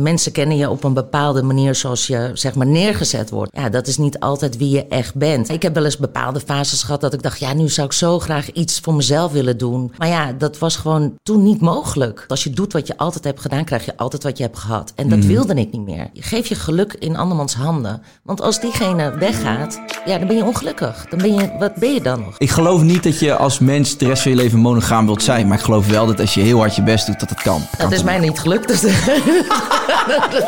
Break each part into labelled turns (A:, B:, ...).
A: Mensen kennen je op een bepaalde manier zoals je zeg maar neergezet wordt. Ja, dat is niet altijd wie je echt bent. Ik heb wel eens bepaalde fases gehad dat ik dacht, ja, nu zou ik zo graag iets voor mezelf willen doen. Maar ja, dat was gewoon toen niet mogelijk. Als je doet wat je altijd hebt gedaan, krijg je altijd wat je hebt gehad. En dat wilde ik niet meer. Je geeft je geluk in andermans handen. Want als diegene weggaat, ja, dan ben je ongelukkig. Dan ben je, wat ben je dan nog?
B: Ik geloof niet dat je als mens de rest van je leven monogaam wilt zijn. Maar ik geloof wel dat als je heel hard je best doet, dat het kan.
A: Dat is mij niet gelukt. Dus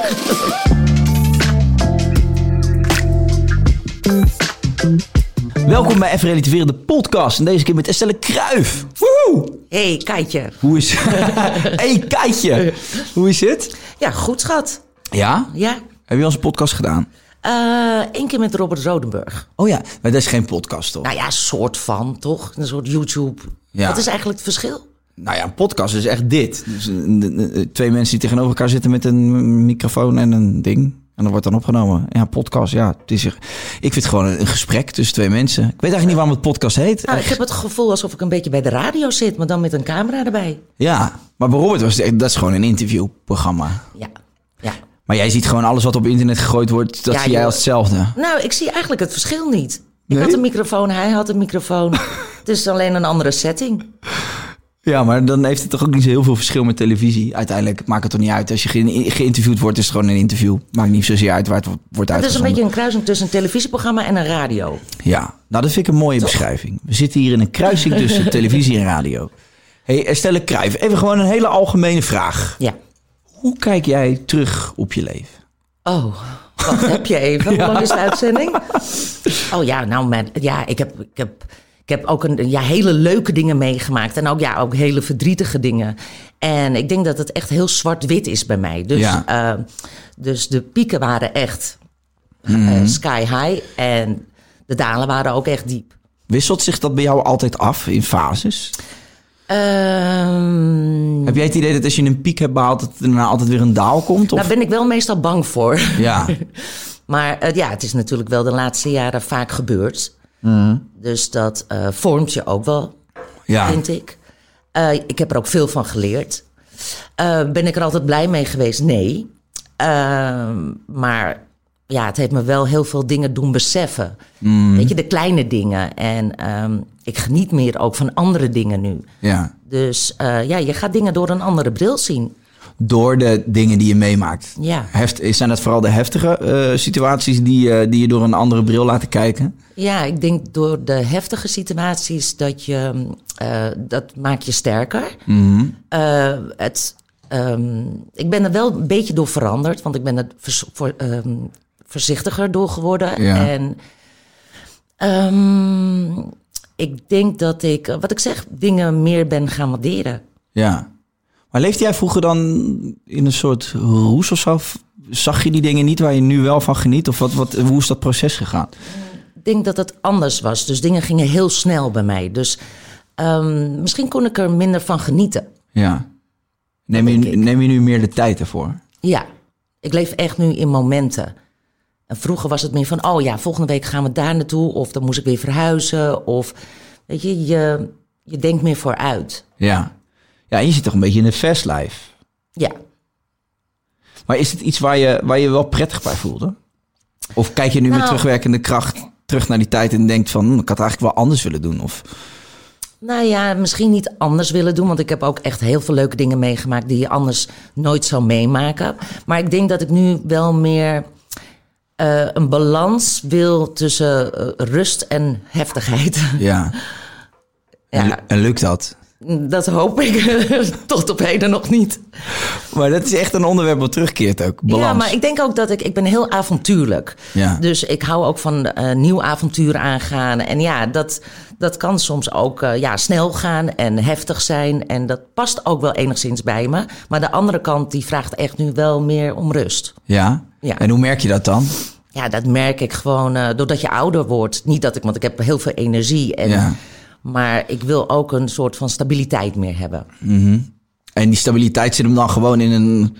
B: Welkom bij Even Relativeren, de podcast. En deze keer met Estelle Kruif. Woehoe!
A: hey, Kaatje.
B: Hoe is... hey, Keitje. Hoe is het?
A: Ja, goed schat.
B: Ja?
A: Ja.
B: Heb je al eens een podcast gedaan?
A: Eén keer met Robert Rodenburg.
B: Oh ja. Maar dat is geen podcast, toch?
A: Nou ja, soort van, toch? Een soort YouTube.
B: Ja.
A: Wat is eigenlijk het verschil?
B: Nou ja, een podcast is echt dit. Dus, eh, eh, twee mensen die tegenover elkaar zitten met een microfoon en een ding. En dat wordt dan opgenomen. Ja, podcast, ja. Het is, er- ik vind het gewoon een, een gesprek tussen twee mensen. Ik weet eigenlijk niet waarom het podcast heet.
A: Nou, ik heb het gevoel alsof ik een beetje bij de radio zit, maar dan met een camera erbij.
B: Ja, maar bij Robert was het echt- dat is gewoon een interviewprogramma.
A: Ja. ja.
B: Maar jij ziet gewoon alles wat op internet gegooid wordt, dat
A: Ja,
B: zie jij
A: joh.
B: als hetzelfde.
A: Nou, ik zie eigenlijk het verschil niet. Ik
B: Nee?
A: had een microfoon, hij had een microfoon. het is alleen een andere setting.
B: Ja, maar dan heeft het toch ook niet zo heel veel verschil met televisie. Uiteindelijk maakt het toch niet uit. Als je ge- geïnterviewd wordt, is het gewoon een interview. Maakt niet zozeer uit waar het wo- wordt
A: Het is een
B: uitgezonden.
A: beetje een kruising tussen een televisieprogramma en een radio.
B: Ja, nou dat vind ik een mooie beschrijving. We zitten hier in een kruising tussen televisie en radio. hey, Estelle Kruijf, even gewoon een hele algemene vraag.
A: Ja.
B: Hoe kijk jij terug op je leven?
A: Oh, wacht, heb je even? Hoe lang is de uitzending? Oh ja, nou, mijn, ja, ik heb, ik heb, ik heb ook een, ja, hele leuke dingen meegemaakt. En ook, ja, ook hele verdrietige dingen. En ik denk dat het echt heel zwart-wit is bij mij. Dus,
B: Ja.
A: eh, dus de pieken waren echt eh,
B: Mhm.
A: sky high. En de dalen waren ook echt diep.
B: Wisselt zich dat bij jou altijd af in fases?
A: Ehm,
B: Heb jij het idee dat als je een piek hebt behaald, dat er daarna altijd weer een daal komt? Of?
A: daar ben ik wel meestal bang voor.
B: Ja,
A: Maar eh, ja, het is natuurlijk wel de laatste jaren vaak gebeurd. Dus dat eh, vormt je ook wel
B: ja.
A: vind ik. Eh, ik heb er ook veel van geleerd. Eh, ben ik er altijd blij mee geweest? Nee. Ehm, maar ja, het heeft me wel heel veel dingen doen beseffen. Weet je, de kleine dingen. En ehm, ik geniet meer ook van andere dingen nu.
B: ja.
A: Dus eh, ja, je gaat dingen door een andere bril zien.
B: Door de dingen die je meemaakt.
A: Ja.
B: Heft, zijn dat vooral de heftige eh, situaties die, eh, die je door een andere bril laten kijken?
A: Ja, ik denk door de heftige situaties dat je eh, dat maakt je sterker. Eh, het, ehm, ik ben er wel een beetje door veranderd, want ik ben er vers- voor, ehm, voorzichtiger door geworden.
B: Ja.
A: En ehm, ik denk dat ik, eh, wat ik zeg, dingen meer ben gaan waarderen.
B: Ja. Maar leefde jij vroeger dan in een soort roes of zo? F- Zag je die dingen niet waar je nu wel van geniet? Of wat, wat, hoe is dat proces gegaan?
A: Ik denk dat het anders was, dus dingen gingen heel snel bij mij. Dus ehm, misschien kon ik er minder van genieten.
B: Ja. Neem je,
A: denk ik.
B: neem je nu meer de tijd ervoor?
A: Ja, ik leef echt nu in momenten. En vroeger was het meer van, oh ja, volgende week gaan we daar naartoe. Of dan moest ik weer verhuizen. Of, weet je, je, je denkt meer vooruit.
B: Ja. Ja, en je zit toch een beetje in de festlife.
A: Ja,
B: Maar is het iets waar je, waar je wel prettig bij voelde? Of kijk je nu met
A: Nou.
B: terugwerkende kracht terug naar die tijd en denkt van... hm, ik had eigenlijk wel anders willen doen? Of,
A: nou ja, misschien niet anders willen doen. Want ik heb ook echt heel veel leuke dingen meegemaakt die je anders nooit zou meemaken. Maar ik denk dat ik nu wel meer eh, een balans wil tussen eh, rust en heftigheid.
B: ja.
A: Ja,
B: En, en lukt dat?
A: dat hoop ik tot op heden nog niet.
B: Maar dat is echt een onderwerp wat terugkeert ook. Balans.
A: Ja, maar ik denk ook dat ik... Ik ben heel avontuurlijk.
B: Ja.
A: Dus ik hou ook van eh, nieuw avontuur aangaan. En ja, dat, dat kan soms ook eh, ja, snel gaan en heftig zijn. En dat past ook wel enigszins bij me. Maar de andere kant, die vraagt echt nu wel meer om rust.
B: ja?
A: Ja.
B: En hoe merk je dat dan?
A: Ja, dat merk ik gewoon eh, doordat je ouder wordt. Niet dat ik... Want ik heb heel veel energie. En,
B: Ja.
A: Maar ik wil ook een soort van stabiliteit meer hebben.
B: En die stabiliteit zit hem dan gewoon in een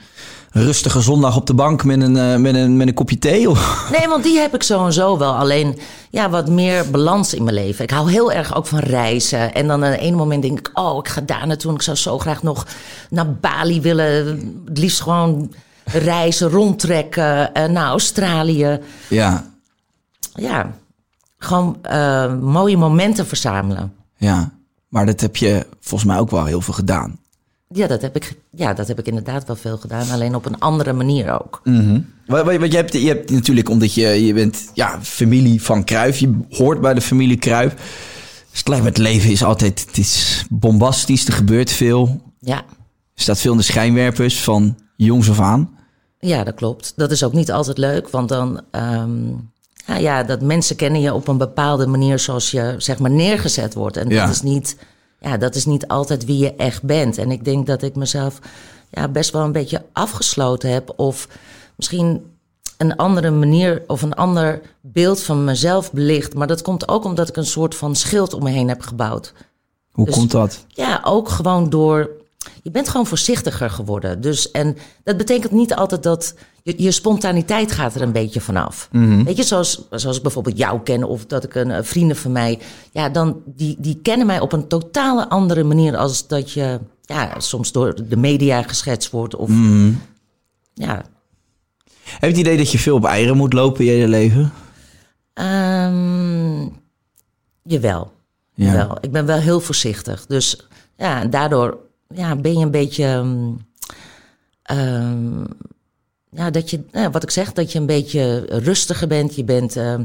B: rustige zondag op de bank met een, eh, met een, met een kopje thee? Of?
A: Nee, want die heb ik zo en zo wel. Alleen ja, wat meer balans in mijn leven. Ik hou heel erg ook van reizen. En dan aan een ene moment denk ik, oh, ik ga daar naartoe. en Ik zou zo graag nog naar Bali willen. Het liefst gewoon reizen, rondtrekken eh, naar Australië.
B: Ja,
A: Ja, gewoon eh, mooie momenten verzamelen.
B: ja. Maar dat heb je volgens mij ook wel heel veel gedaan.
A: Ja dat, heb ik, ja, dat heb ik inderdaad wel veel gedaan. Alleen op een andere manier ook.
B: Wa- wa- Want je hebt, je hebt natuurlijk, omdat je, je bent ja, familie van Kruif, je hoort bij de familie Kruif. Dus het lijkt me het leven is altijd het is bombastisch, er gebeurt veel.
A: Ja.
B: Er staat veel in de schijnwerpers van jongs af aan.
A: Ja, dat klopt. Dat is ook niet altijd leuk, want dan. ehm, nou ja, dat mensen kennen je op een bepaalde manier zoals je zeg maar neergezet wordt. En
B: Ja.
A: dat, is niet, ja, dat is niet altijd wie je echt bent. En ik denk dat ik mezelf ja, best wel een beetje afgesloten heb. Of misschien een andere manier of een ander beeld van mezelf belicht. Maar dat komt ook omdat ik een soort van schild om me heen heb gebouwd.
B: Hoe komt dat?
A: Ja, ook gewoon door. Je bent gewoon voorzichtiger geworden. Dus, en dat betekent niet altijd dat. Je, je spontaniteit gaat er een beetje vanaf. Weet je, zoals, zoals ik bijvoorbeeld jou ken of dat ik een eh, vrienden van mij. Ja, dan die, die kennen mij op een totale andere manier. Als dat je ja, soms door de media geschetst wordt. Of, Ja.
B: Heb je het idee dat je veel op eieren moet lopen in je hele leven?
A: Ehm, jawel.
B: Ja.
A: Wel, ik ben wel heel voorzichtig. Dus ja, en daardoor ja, ben je een beetje. ehm, ehm, ja, dat je, nou ja, wat ik zeg, dat je een beetje rustiger bent. Je bent ehm,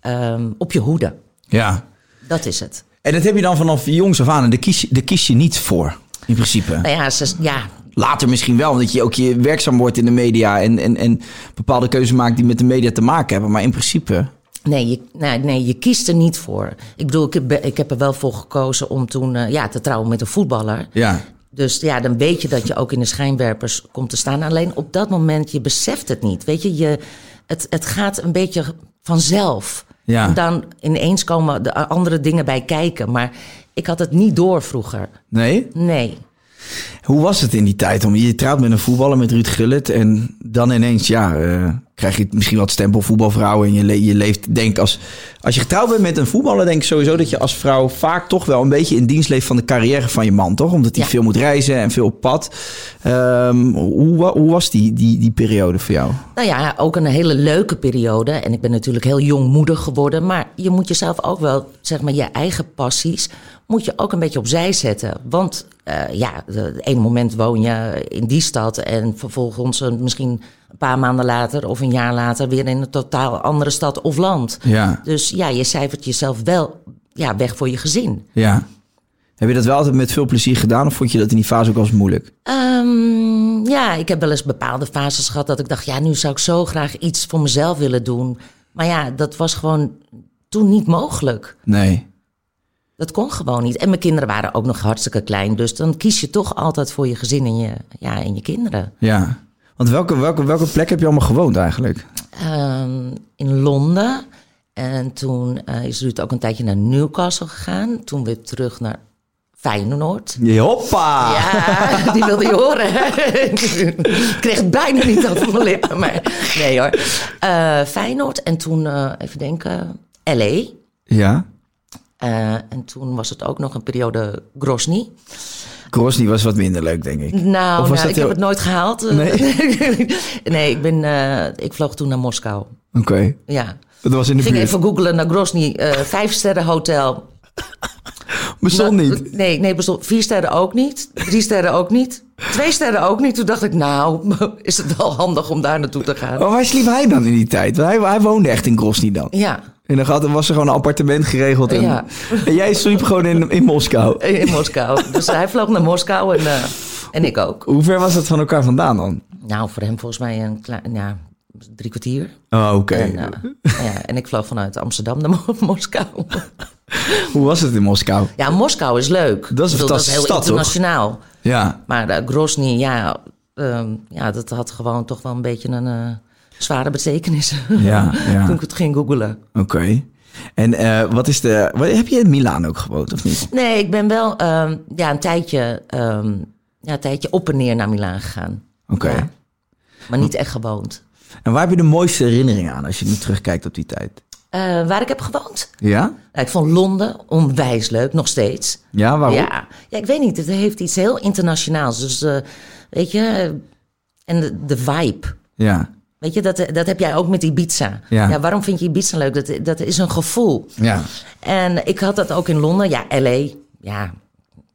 A: ehm, op je hoede.
B: Ja.
A: Dat is het.
B: En dat heb je dan vanaf jongs af aan en daar kies, je- daar kies je niet voor, in principe.
A: Nou ja, ze, ja,
B: Later misschien wel, omdat je ook je werkzaam wordt in de media en, en, en bepaalde keuzes maakt die met de media te maken hebben. Maar in principe,
A: nee, je, nee, nee, je kiest er niet voor. Ik bedoel, ik heb, ik heb er wel voor gekozen om toen eh, ja, te trouwen met een voetballer.
B: ja.
A: Dus ja, dan weet je dat je ook in de schijnwerpers komt te staan. Alleen op dat moment, je beseft het niet. Weet je, je het, het gaat een beetje vanzelf.
B: Ja.
A: En dan ineens komen de andere dingen bij kijken. Maar ik had het niet door vroeger.
B: Nee?
A: Nee.
B: Hoe was het in die tijd? Om, je trouwt met een voetballer, met Ruud Gullit. En dan ineens, ja, eh, krijg je misschien wat stempel voetbalvrouw. En je, le- je leeft, denk als... Als je getrouwd bent met een voetballer, denk ik sowieso dat je als vrouw vaak toch wel een beetje in dienst leeft van de carrière van je man, toch? Omdat hij
A: Ja.
B: veel moet reizen en veel op pad. Ehm, hoe, wa- hoe was die, die, die periode voor jou?
A: Nou ja, ook een hele leuke periode. En ik ben natuurlijk heel jong moeder geworden. Maar je moet jezelf ook wel, zeg maar, je eigen passies... moet je ook een beetje opzij zetten. Want eh, ja, de- het ene moment woon je in die stad... en vervolgens eh, misschien een paar maanden later of een jaar later... weer in een totaal andere stad of land.
B: Ja.
A: Dus ja, je cijfert jezelf wel ja, weg voor je gezin.
B: Ja. Heb je dat wel altijd met veel plezier gedaan? Of vond je dat in die fase ook wel eens moeilijk?
A: Ehm, ja, ik heb wel eens bepaalde fases gehad dat ik dacht, ja, nu zou ik zo graag iets voor mezelf willen doen. Maar ja, dat was gewoon toen niet mogelijk.
B: Nee.
A: Dat kon gewoon niet. En mijn kinderen waren ook nog hartstikke klein. Dus dan kies je toch altijd voor je gezin en je, ja, en je kinderen.
B: Ja. Want welke, welke, welke plek heb je allemaal gewoond eigenlijk?
A: Ehm, in Londen. En toen eh, is Ruud ook een tijdje naar Newcastle gegaan. Toen weer terug naar Feyenoord.
B: Hoppa!
A: Ja, die wilde je horen. ik kreeg het bijna niet over mijn lippen. Maar nee hoor. Eh, Feyenoord en toen, eh, even denken, L.A.
B: Ja.
A: Eh, en toen was het ook nog een periode Grozny.
B: Crosby was wat minder leuk, denk ik.
A: Nou,
B: Of was
A: nou,
B: dat
A: ik
B: heel-
A: heb het nooit gehaald. Nee, ik, ben, eh, ik vloog toen naar Moskou.
B: Oké.
A: Ja.
B: Dat was in de
A: Ging
B: buurt.
A: even googlen naar Grozny. eh vijf sterren hotel.
B: Bestond
A: Nou,
B: niet.
A: Nee, nee bestond, vier sterren ook niet. Drie sterren ook niet. Twee sterren ook niet. Toen dacht ik, nou, is het wel handig om daar naartoe te gaan.
B: Maar oh, waar sliep hij dan in die tijd? Want Hij, hij woonde echt in Grosny dan.
A: Ja,
B: En dan gaat- was er gewoon een appartement geregeld. En,
A: Ja.
B: en jij sliep gewoon in, in Moskou.
A: in Moskou. Dus hij vloog naar Moskou en, eh, en ik ook.
B: Hoe ver was dat van elkaar vandaan dan?
A: Nou, voor hem volgens mij een klein, ja, drie kwartier.
B: Oh, oké.
A: En, eh, ja, en ik vloog vanuit Amsterdam naar Mo- Moskou.
B: Hoe was het in Moskou?
A: Ja, Moskou is leuk. Ik
B: Dat is een
A: bedoel,
B: fantastische
A: heel
B: stad, toch?
A: internationaal.
B: Ja.
A: Maar eh, Grozny, ja, ehm, ja, dat had gewoon toch wel een beetje een eh, zware betekenis.
B: Ja, ja.
A: Toen ik het ging googelen.
B: Oké. En eh, wat is de... Wat, heb je in Milaan ook gewoond, of niet?
A: Nee, ik ben wel ehm, ja, een, tijdje, ehm, ja, een tijdje op en neer naar Milaan gegaan.
B: Oké.
A: Ja. Maar niet echt gewoond.
B: En waar heb je de mooiste herinnering aan als je nu terugkijkt op die tijd?
A: Eh, waar ik heb gewoond?
B: Ja?
A: Nou, ik vond Londen onwijs leuk, nog steeds.
B: Ja, waarom?
A: Ja. ja, ik weet niet. Het heeft iets heel internationaals. Dus eh, weet je, eh, en de, de vibe.
B: Ja.
A: Weet je, dat, dat heb jij ook met Ibiza.
B: Ja.
A: waarom vind je Ibiza leuk? Dat, dat is een gevoel.
B: Ja.
A: En ik had dat ook in Londen. Ja, L.A. Ja,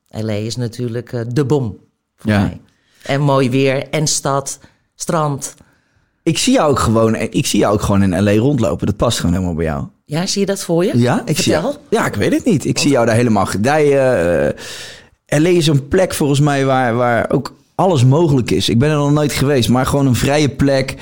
A: L.A. is natuurlijk eh, de bom voor
B: Ja.
A: mij. En mooi weer en stad, strand.
B: Ik zie jou ook gewoon, eh, ik zie jou ook gewoon in L.A. rondlopen. Dat past gewoon helemaal bij jou.
A: Ja, zie je dat voor je?
B: Ja, ik zie
A: Vertel.
B: jou- Ja, ik weet het niet. Ik zie jou daar helemaal gedijen. LA is een plek volgens mij waar, waar ook alles mogelijk is. Ik ben er nog nooit geweest, maar gewoon een vrije plek.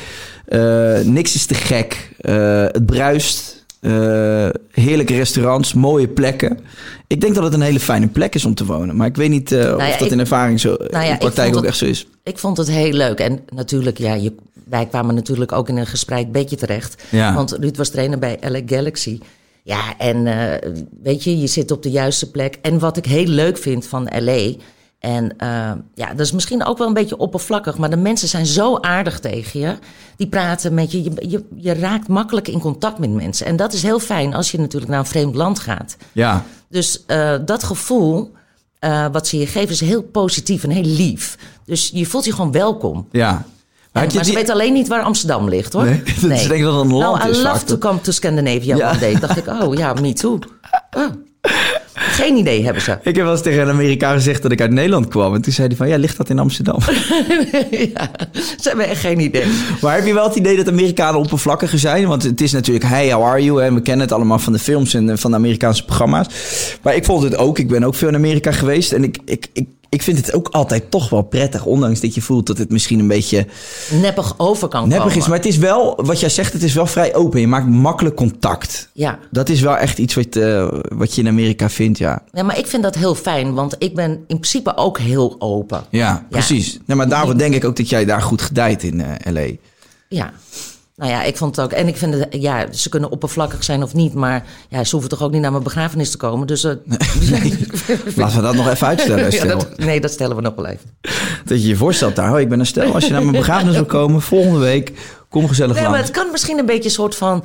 B: Eh, niks is te gek. Eh, het bruist. Eh, heerlijke restaurants, mooie plekken. Ik denk dat het een hele fijne plek is om te wonen. Maar ik weet niet eh,
A: Nou ja,
B: of dat
A: ik- nou
B: in ervaring zo
A: ja,
B: in de
A: ik
B: eh, praktijk ook
A: vond het-
B: echt zo is.
A: Ik vond het heel leuk. En natuurlijk, ja, je, wij kwamen natuurlijk ook in een gespreid bedje terecht.
B: Ja.
A: Want Ruud was trainer bij LA Galaxy. Ja, en eh, weet je, je zit op de juiste plek. En wat ik heel leuk vind van LA. En eh, ja, dat is misschien ook wel een beetje oppervlakkig. Maar de mensen zijn zo aardig tegen je. Die praten met je. Je, je, je raakt makkelijk in contact met mensen. En dat is heel fijn als je natuurlijk naar een vreemd land gaat.
B: Ja,
A: Dus eh, dat gevoel, eh, wat ze je geven, is heel positief en heel lief. Dus je voelt je gewoon welkom.
B: ja. Maar
A: En-
B: heb je
A: maar ze
B: die-
A: weten alleen niet waar Amsterdam ligt, hoor.
B: Nee, dat is denk ik dat het een land
A: nou,
B: is
A: I
B: vaak,
A: love to
B: toch?
A: come to Scandinavia
B: Ja.
A: one day. Dacht ik, oh ja, me too. Ah. Geen idee hebben ze.
B: Ik heb wel eens tegen een Amerikaan gezegd dat ik uit Nederland kwam. En toen zei hij van, ja, ligt dat in Amsterdam?
A: ja, ze hebben echt geen idee.
B: Maar heb je wel het idee dat Amerikanen oppervlakkiger zijn? Want het is natuurlijk, hey, how are you? En we kennen het allemaal van de films en eh, van de Amerikaanse programma's. Maar ik vond het ook, ik ben ook veel in Amerika geweest. En ik, ik, ik, ik vind het ook altijd toch wel prettig. Ondanks dat je voelt dat het misschien een beetje
A: Neppig over kan
B: neppig
A: komen.
B: is. Oh, Maar het is wel, wat jij zegt, het is wel vrij open. Je maakt makkelijk contact.
A: Ja.
B: Dat is wel echt iets wat, eh, wat je in Amerika vindt, ja.
A: ja, maar ik vind dat heel fijn, want ik ben in principe ook heel open.
B: Ja, precies. Nou, maar daarvoor denk ik ook dat jij daar goed gedijt in eh, L.A.
A: Ja. Nou ja, ik vond het ook. En ik vind het, ja, ze kunnen oppervlakkig zijn of niet, maar ja, ze hoeven toch ook niet naar mijn begrafenis te komen. Dus. eh,
B: Laten we dat nog even uitstellen.
A: ja,
B: Estelle.
A: dat- nee, dat stellen we nog wel even.
B: Dat je je voorstelt daar, oh, ik ben een stel. Als je naar mijn begrafenis wil komen, volgende week, kom gezellig
A: Nee, maar
B: langs.
A: het kan misschien een beetje een soort van.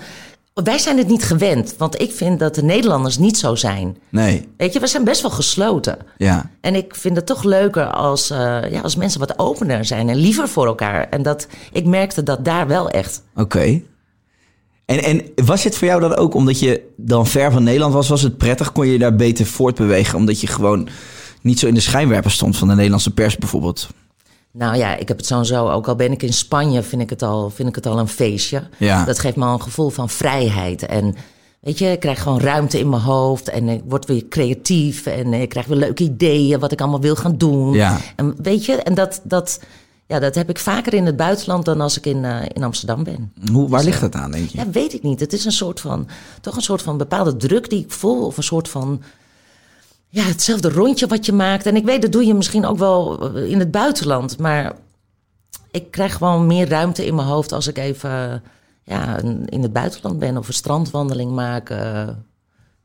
A: Wij zijn het niet gewend, want ik vind dat de Nederlanders niet zo zijn.
B: Nee,
A: Weet je, we zijn best wel gesloten.
B: ja.
A: En ik vind het toch leuker als, eh, ja, als mensen wat opener zijn en liever voor elkaar. En dat, ik merkte dat daar wel echt.
B: Oké. En, en was het voor jou dan ook, omdat je dan ver van Nederland was, was het prettig? Kon je je daar beter voortbewegen, omdat je gewoon niet zo in de schijnwerper stond van de Nederlandse pers bijvoorbeeld?
A: Nou ja, ik heb het zo en zo. Ook al ben ik in Spanje, vind ik het al, vind ik het al een feestje.
B: Ja.
A: Dat geeft me al een gevoel van vrijheid. En weet je, ik krijg gewoon ruimte in mijn hoofd. En ik word weer creatief. En ik krijg weer leuke ideeën wat ik allemaal wil gaan doen.
B: Ja.
A: En weet je, en dat, dat, ja, dat heb ik vaker in het buitenland dan als ik in, eh, in Amsterdam ben.
B: Hoe, waar ligt dat aan, denk je?
A: Ja, weet ik niet. Het is een soort van, toch een soort van bepaalde druk die ik voel. Of een soort van, ja, hetzelfde rondje wat je maakt. En ik weet, dat doe je misschien ook wel eh, in het buitenland. Maar ik krijg gewoon meer ruimte in mijn hoofd als ik even eh, ja, een- in het buitenland ben. Of een strandwandeling maak. eh,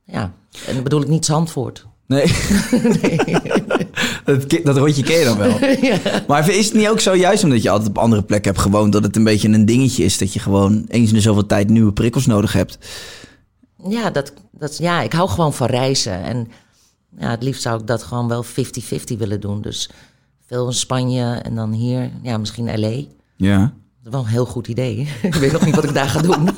A: ja, en dan bedoel ik niet Zandvoort.
B: Nee. dat, ki- dat rondje ken je dan wel. Maar is het niet ook zo, juist omdat je altijd op andere plekken hebt gewoond, dat het een beetje een dingetje is dat je gewoon eens in de zoveel tijd nieuwe prikkels nodig hebt?
A: Ja, dat, dat, ja, ik hou gewoon van reizen. En ja, het liefst zou ik dat gewoon wel 50-50 willen doen. Dus veel in Spanje en dan hier, ja, misschien L.A.
B: Ja.
A: Dat is wel een heel goed idee. ik weet nog niet wat ik daar ga doen.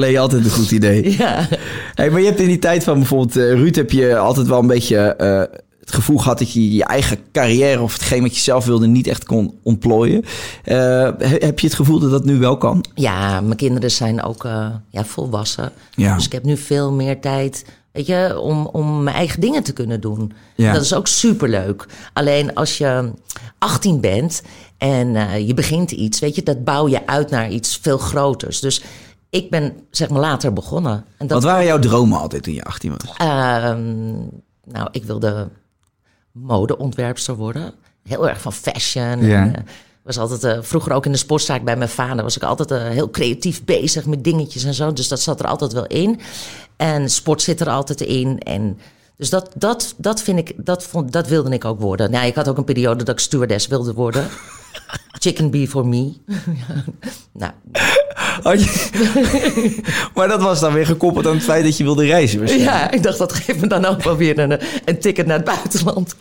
B: LA altijd een goed idee.
A: ja.
B: Hey, maar je hebt in die tijd van bijvoorbeeld eh, Ruud, heb je altijd wel een beetje eh, het gevoel gehad dat je je eigen carrière of hetgeen wat je zelf wilde niet echt kon ontplooien. Eh, he- heb je het gevoel dat dat nu wel kan?
A: ja, mijn kinderen zijn ook eh, ja, volwassen.
B: Ja.
A: Dus ik heb nu veel meer tijd weet je, om, om mijn eigen dingen te kunnen doen.
B: Ja.
A: Dat is ook superleuk. Alleen als je 18 bent en eh, je begint iets, weet je, dat bouw je uit naar iets veel groters. Dus ik ben zeg maar later begonnen. En dat,
B: Wat waren jouw dromen altijd toen je 18 was?
A: Ehm, nou, ik wilde modeontwerpster worden. Heel erg van fashion.
B: Ja.
A: En, eh, was altijd, eh, vroeger ook in de sportzaak bij mijn vader was ik altijd eh, heel creatief bezig met dingetjes en zo. Dus dat zat er altijd wel in. En sport zit er altijd in. En dus dat, dat, dat vind ik, dat, vond, dat wilde ik ook worden. Nou, ik had ook een periode dat ik stewardess wilde worden. Chicken bee for me. Ja. nou,
B: Had je- maar dat was dan weer gekoppeld aan het feit dat je wilde reizen. waarschijnlijk.
A: ja, eh, ik dacht dat geeft me dan ook wel weer een, een ticket naar het buitenland.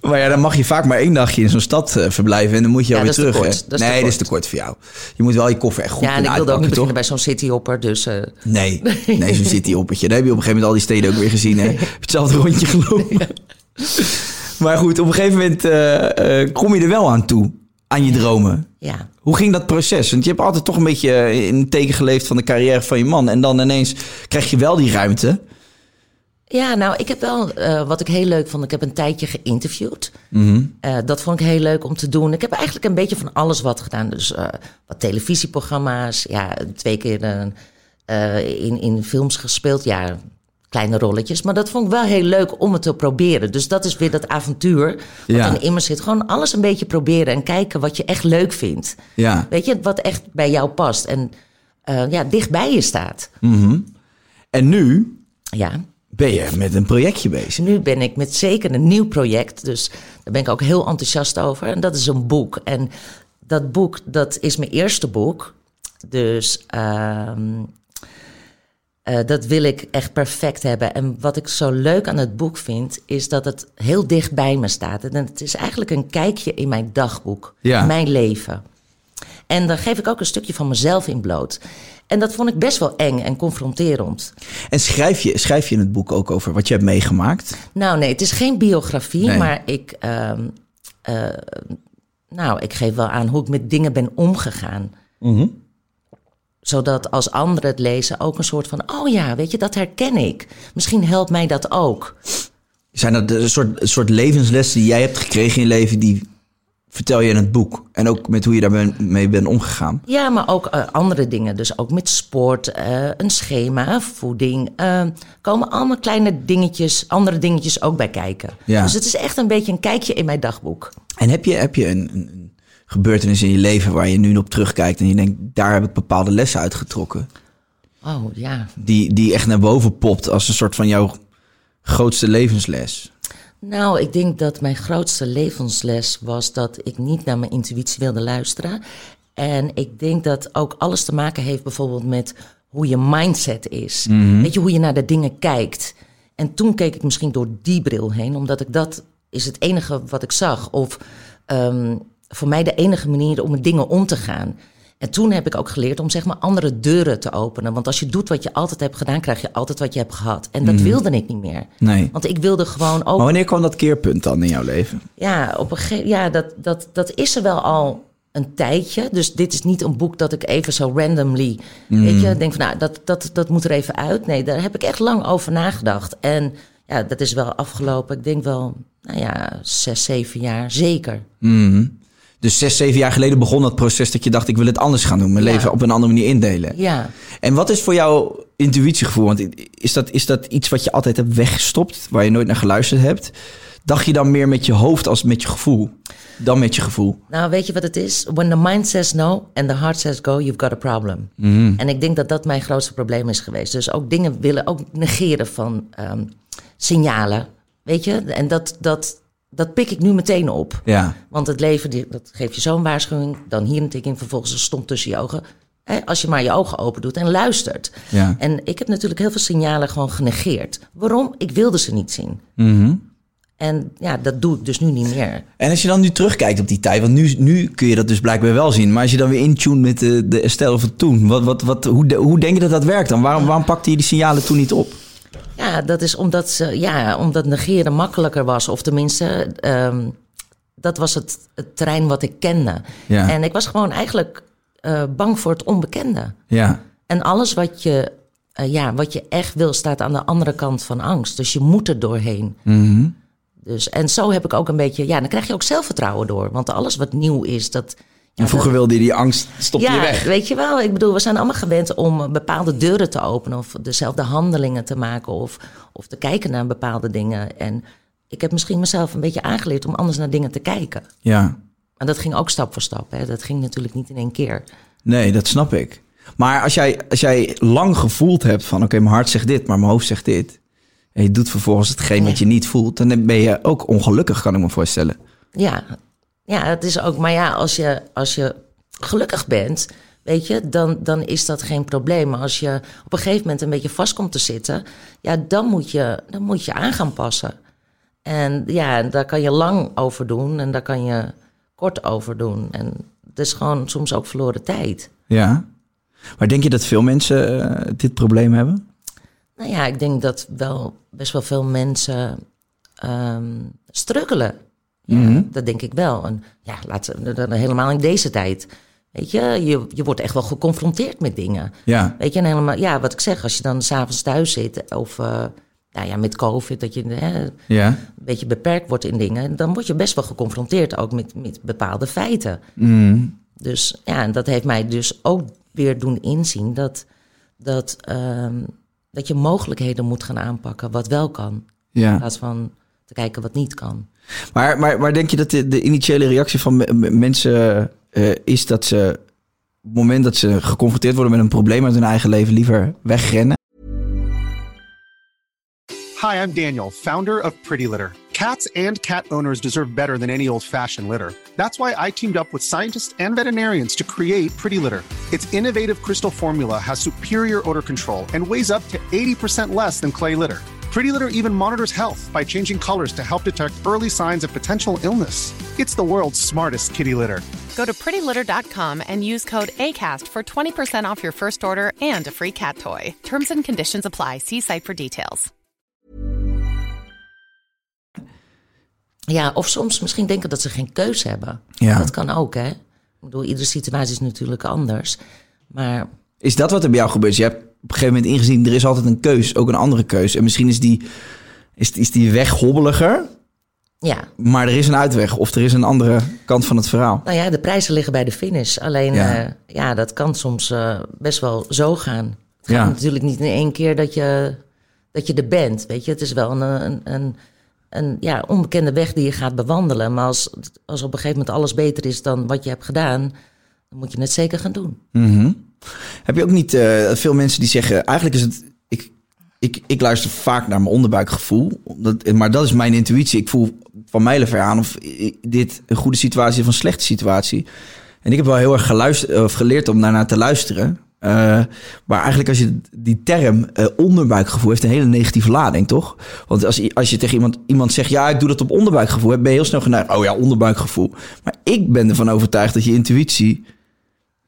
B: Maar ja, dan mag je vaak maar één dagje in zo'n stad eh, verblijven en dan moet je
A: Ja,
B: alweer
A: dat is te
B: terug. hè?
A: kort. Dat is te
B: nee, dat is te
A: kort.
B: kort voor jou. Je moet wel je koffer echt goed
A: Ja, en ik
B: kunnen
A: wilde ook niet
B: uitpakken,
A: beginnen
B: toch?
A: bij zo'n cityhopper, dus... eh,
B: Nee, nee, zo'n cityhoppetje. Daar heb je op een gegeven moment al die steden ook weer gezien. Hè? Heb je hetzelfde rondje gelopen. Maar goed, op een gegeven moment eh, eh, kom je er wel aan toe, aan je dromen.
A: ja.
B: Hoe ging dat proces? Want je hebt altijd toch een beetje eh, in het teken geleefd van de carrière van je man. En dan ineens krijg je wel die ruimte.
A: ja, nou, ik heb wel... eh, wat ik heel leuk vond, ik heb een tijdje geïnterviewd.
B: Mhm.
A: Eh, dat vond ik heel leuk om te doen. Ik heb eigenlijk een beetje van alles wat gedaan. Dus eh, wat televisieprogramma's, ja, twee keer eh, eh, in, in films gespeeld. Ja, kleine rolletjes. Maar dat vond ik wel heel leuk om het te proberen. Dus dat is weer dat avontuur wat
B: Ja.
A: dan in me zit. Gewoon alles een beetje proberen en kijken wat je echt leuk vindt.
B: Ja.
A: Weet je, wat echt bij jou past en eh, ja, dicht bij je staat.
B: En nu
A: Ja.
B: ben je met een projectje bezig.
A: Dus Nu ben ik met zeker een nieuw project. Dus daar ben ik ook heel enthousiast over. En dat is een boek. En dat boek, dat is mijn eerste boek. Dus ehm, eh, dat wil ik echt perfect hebben. En wat ik zo leuk aan het boek vind, is dat het heel dicht bij me staat. En het is eigenlijk een kijkje in mijn dagboek,
B: Ja.
A: mijn leven. En daar geef ik ook een stukje van mezelf in bloot. En dat vond ik best wel eng en confronterend.
B: En schrijf je, schrijf je in het boek ook over wat je hebt meegemaakt?
A: Nou, nee, het is geen biografie,
B: Nee.
A: maar ik. ehm, eh, nou, ik geef wel aan hoe ik met dingen ben omgegaan.
B: Mhm.
A: Zodat als anderen het lezen ook een soort van: oh ja, weet je, dat herken ik. Misschien helpt mij dat ook.
B: Zijn dat een soort, een soort levenslessen die jij hebt gekregen in je leven, die vertel je in het boek? En ook met hoe je daarmee bent omgegaan?
A: Ja, maar ook eh, andere dingen. Dus ook met sport, eh, een schema, voeding. eh, komen allemaal kleine dingetjes, andere dingetjes ook bij kijken.
B: Ja.
A: Dus het is echt een beetje een kijkje in mijn dagboek.
B: En heb je, heb je een, een- een gebeurtenis in je leven waar je nu op terugkijkt en je denkt, daar heb ik bepaalde lessen uitgetrokken?
A: Oh ja,
B: Die, die echt naar boven popt als een soort van jouw grootste levensles.
A: Nou, ik denk dat mijn grootste levensles was dat ik niet naar mijn intuïtie wilde luisteren. En ik denk dat ook alles te maken heeft bijvoorbeeld met hoe je mindset is.
B: Mhm.
A: Weet je, hoe je naar de dingen kijkt. En toen keek ik misschien door die bril heen, omdat ik dat is het enige wat ik zag. Of ehm, voor mij de enige manier om met dingen om te gaan. En toen heb ik ook geleerd om zeg maar andere deuren te openen. Want als je doet wat je altijd hebt gedaan, krijg je altijd wat je hebt gehad. En dat wilde ik niet meer.
B: Mhm. Nee.
A: Want ik wilde gewoon ook
B: Maar wanneer kwam dat keerpunt dan in jouw leven?
A: ja, op een gegeven ja dat, dat, dat is er wel al een tijdje. Dus dit is niet een boek dat ik even zo randomly. Weet je, denk van nou, dat, dat, dat moet er even uit. Nee, daar heb ik echt lang over nagedacht. En ja, dat is wel afgelopen, ik denk wel, nou ja, zes, zeven jaar zeker.
B: Dus zes, zeven jaar geleden begon dat proces dat je dacht, ik wil het anders gaan doen. Mijn
A: Ja.
B: leven op een andere manier indelen.
A: Ja.
B: En wat is voor jou intuïtiegevoel? Want is dat, is dat iets wat je altijd hebt weggestopt, waar je nooit naar geluisterd hebt? Dacht je dan meer met je hoofd als met je gevoel? Dan met je gevoel.
A: Nou, weet je wat het is? When the mind says no and the heart says go, you've got a problem.
B: Mhm.
A: En ik denk dat dat mijn grootste probleem is geweest. Dus ook dingen willen, ook negeren van ehm, signalen. Weet je, en dat, dat, dat pik ik nu meteen op.
B: Ja.
A: Want het leven, die- dat geeft je zo'n waarschuwing, dan hier een tik in, vervolgens een stomp tussen je ogen. Hè, als je maar je ogen open doet en luistert.
B: Ja.
A: En ik heb natuurlijk heel veel signalen gewoon genegeerd. Waarom? Ik wilde ze niet zien.
B: Mhm.
A: En ja, dat doe ik dus nu niet meer.
B: En als je dan nu terugkijkt op die tijd, want nu, nu kun je dat dus blijkbaar wel zien. Maar als je dan weer intune met de, de Estelle van toen, wat, wat, wat, hoe, de- hoe denk je dat dat werkt dan? Waarom, waarom pakte je die signalen toen niet op?
A: Ja, dat is omdat, ze, ja, omdat negeren makkelijker was. Of tenminste, ehm, dat was het, het terrein wat ik kende.
B: Ja.
A: En ik was gewoon eigenlijk eh, bang voor het onbekende.
B: Ja,
A: En alles wat je, eh, ja, wat je echt wil, staat aan de andere kant van angst. Dus je moet er doorheen. Dus, en zo heb ik ook een beetje... Ja, dan krijg je ook zelfvertrouwen door. Want alles wat nieuw is, dat...
B: en vroeger wilde je die angst, stop je weg.
A: weet je wel. Ik bedoel, we zijn allemaal gewend om eh, bepaalde deuren te openen of dezelfde handelingen te maken of, of te kijken naar bepaalde dingen. En ik heb misschien mezelf een beetje aangeleerd om anders naar dingen te kijken.
B: Ja,
A: Maar dat ging ook stap voor stap. Hè. Dat ging natuurlijk niet in één keer.
B: nee, dat snap ik. Maar als jij, als jij lang gevoeld hebt van, oké, mijn hart zegt dit, maar mijn hoofd zegt dit. En je doet vervolgens hetgeen wat je niet voelt, dan ben je ook ongelukkig, kan ik me voorstellen.
A: Ja, ja het is ook. Maar ja, als je, als je gelukkig bent, weet je, dan, dan is dat geen probleem. Maar als je op een gegeven moment een beetje vast komt te zitten, ja, dan moet je, dan moet je aan gaan passen. En ja, daar kan je lang over doen en daar kan je kort over doen. En het is gewoon soms ook verloren tijd.
B: Ja. Maar denk je dat veel mensen eh, dit probleem hebben?
A: Nou ja, ik denk dat wel best wel veel mensen ehm struggelen. Ja, Dat denk ik wel. En ja, laten we helemaal in deze tijd. Weet je, je, je wordt echt wel geconfronteerd met dingen.
B: Ja.
A: Weet je, en helemaal, ja, wat ik zeg, als je dan s'avonds thuis zit of eh, nou ja, met COVID, dat je hè, een
B: Ja.
A: beetje beperkt wordt in dingen, dan word je best wel geconfronteerd ook met, met bepaalde feiten. Dus ja, en dat heeft mij dus ook weer doen inzien dat, dat, ehm, dat je mogelijkheden moet gaan aanpakken wat wel kan, in
B: Ja.
A: plaats van te kijken wat niet kan.
B: Maar, maar, maar denk je dat de, de initiële reactie van me- me- mensen eh, is dat ze op het moment dat ze geconfronteerd worden met een probleem uit hun eigen leven liever wegrennen?
C: Hi, I'm Daniel, founder of Pretty Litter. Cats and cat owners deserve better than any old fashioned litter. That's why I teamed up with scientists and veterinarians to create Pretty Litter. Its innovative crystal formula has superior odor control and weighs up to 80% less than clay litter. Pretty Litter even monitors health by changing colors to help detect early signs of potential illness. It's the world's smartest kitty litter.
D: Go to prettylitter.com and use code ACAST for 20% off your first order and a free cat toy. Terms and conditions apply. See site for details.
A: Ja, of soms misschien denken dat ze geen keus hebben.
B: Ja.
A: Dat kan ook, hè? Ik bedoel, iedere situatie is natuurlijk anders. Maar
B: Is dat wat er bij jou gebeurt? Je hebt op een gegeven moment ingezien, er is altijd een keus, ook een andere keus. En misschien is die, is, is die weg hobbeliger,
A: ja,
B: maar er is een uitweg of er is een andere kant van het verhaal.
A: nou ja, de prijzen liggen bij de finish. Alleen,
B: Ja.
A: ja, ja dat kan soms eh, best wel zo gaan. Het gaat
B: Ja.
A: natuurlijk niet in één keer dat je, dat je er bent, weet je. Het is wel een, een, een, een ja, onbekende weg die je gaat bewandelen. Maar als, als op een gegeven moment alles beter is dan wat je hebt gedaan... dan moet je het zeker gaan doen.
B: Heb je ook niet eh, veel mensen die zeggen, eigenlijk is het, ik, ik, ik luister vaak naar mijn onderbuikgevoel, omdat, maar dat is mijn intuïtie. Ik voel van mijlenver aan of i- dit een goede situatie of een slechte situatie. En ik heb wel heel erg geluisterd, of geleerd om daarnaar te luisteren. Eh, maar eigenlijk als je die term eh, onderbuikgevoel heeft een hele negatieve lading, toch? Want als, i- als je tegen iemand, iemand zegt, ja, ik doe dat op onderbuikgevoel, ben je heel snel geneigd, oh ja, onderbuikgevoel. Maar ik ben ervan overtuigd dat je intuïtie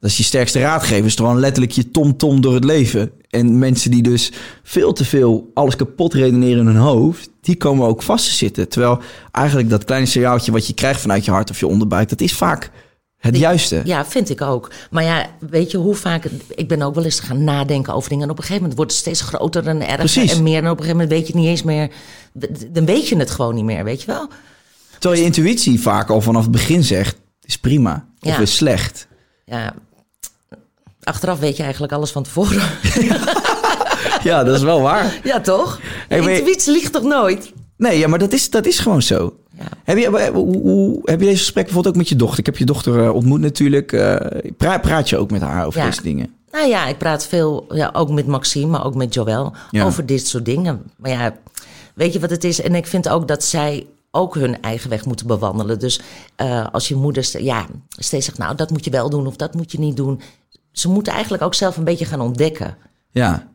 B: dat is je sterkste raadgever. Is gewoon letterlijk je tom-tom door het leven. En mensen die dus veel te veel alles kapot redeneren in hun hoofd, die komen ook vast te zitten. Terwijl eigenlijk dat kleine signaaltje wat je krijgt vanuit je hart of je onderbuik, dat is vaak het juiste.
A: Ja, vind ik ook. Maar ja, weet je hoe vaak... Ik ben ook wel eens gaan nadenken over dingen. En op een gegeven moment wordt het steeds groter en erger
B: Precies.
A: en meer. En op een gegeven moment weet je het niet eens meer... d- Dan weet je het gewoon niet meer, weet je wel?
B: Terwijl je intuïtie vaak al vanaf het begin zegt, is prima of
A: Ja.
B: is slecht.
A: Ja, achteraf weet je eigenlijk alles van tevoren.
B: Ja, dat is wel waar.
A: ja, toch?
B: Hey, maar je-
A: Intuïtie ligt toch nooit?
B: Nee, ja, maar dat is, dat is gewoon zo.
A: Ja.
B: Heb, je, eh, hoe, hoe- heb je deze gesprekken bijvoorbeeld ook met je dochter? Ik heb je dochter eh, ontmoet natuurlijk. Eh, pra- praat je ook met haar over
A: Ja.
B: deze dingen?
A: Nou ja, ik praat veel, ja, ook met Maxime, maar ook met Joël,
B: Ja.
A: over dit soort dingen. Maar ja, Weet je wat het is? En ik vind ook dat zij ook hun eigen weg moeten bewandelen. Dus eh, als je moeder st- ja, steeds zegt, nou dat moet je wel doen of dat moet je niet doen. Ze moeten eigenlijk ook zelf een beetje gaan ontdekken.
B: Ja.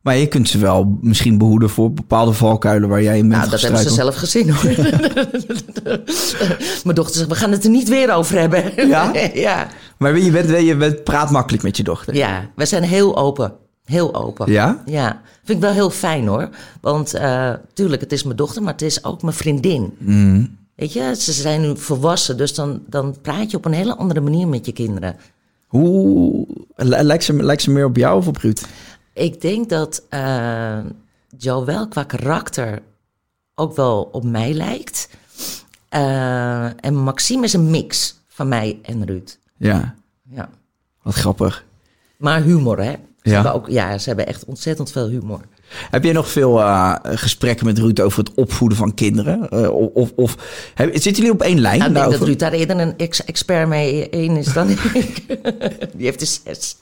B: Maar je kunt ze wel misschien behoeden voor bepaalde valkuilen waar jij in bent
A: Nou, dat hebben ze
B: gestruikeld.
A: zelf gezien hoor. Mijn dochter zegt, we gaan het er niet weer over hebben.
B: Ja?
A: ja.
B: Maar je, bent, je bent, praat makkelijk met je dochter.
A: Ja, we zijn heel open. Heel open.
B: Ja?
A: Ja. Vind ik wel heel fijn hoor. Want eh, tuurlijk, het is mijn dochter, maar het is ook mijn vriendin.
B: Mm.
A: Weet je, ze zijn nu volwassen, dus dan, dan praat je op een hele andere manier met je kinderen.
B: Hoe, li- lijkt, ze, lijkt ze meer op jou of op Ruud?
A: Ik denk dat eh Jo wel qua karakter ook wel op mij lijkt. Eh, en Maxime is een mix van mij en Ruud.
B: Ja,
A: Ja.
B: wat grappig.
A: Maar humor, hè? Ze
B: Ja.
A: Hebben ook, ja, ze hebben echt ontzettend veel humor.
B: Heb jij nog veel eh, gesprekken met Ruud over het opvoeden van kinderen? Eh, of of, of heb- zitten jullie op één lijn?
A: Nou, ik denk dat
B: daarover?
A: Ruud daar eerder een ex- expert mee in is dan ik. Die heeft de zes.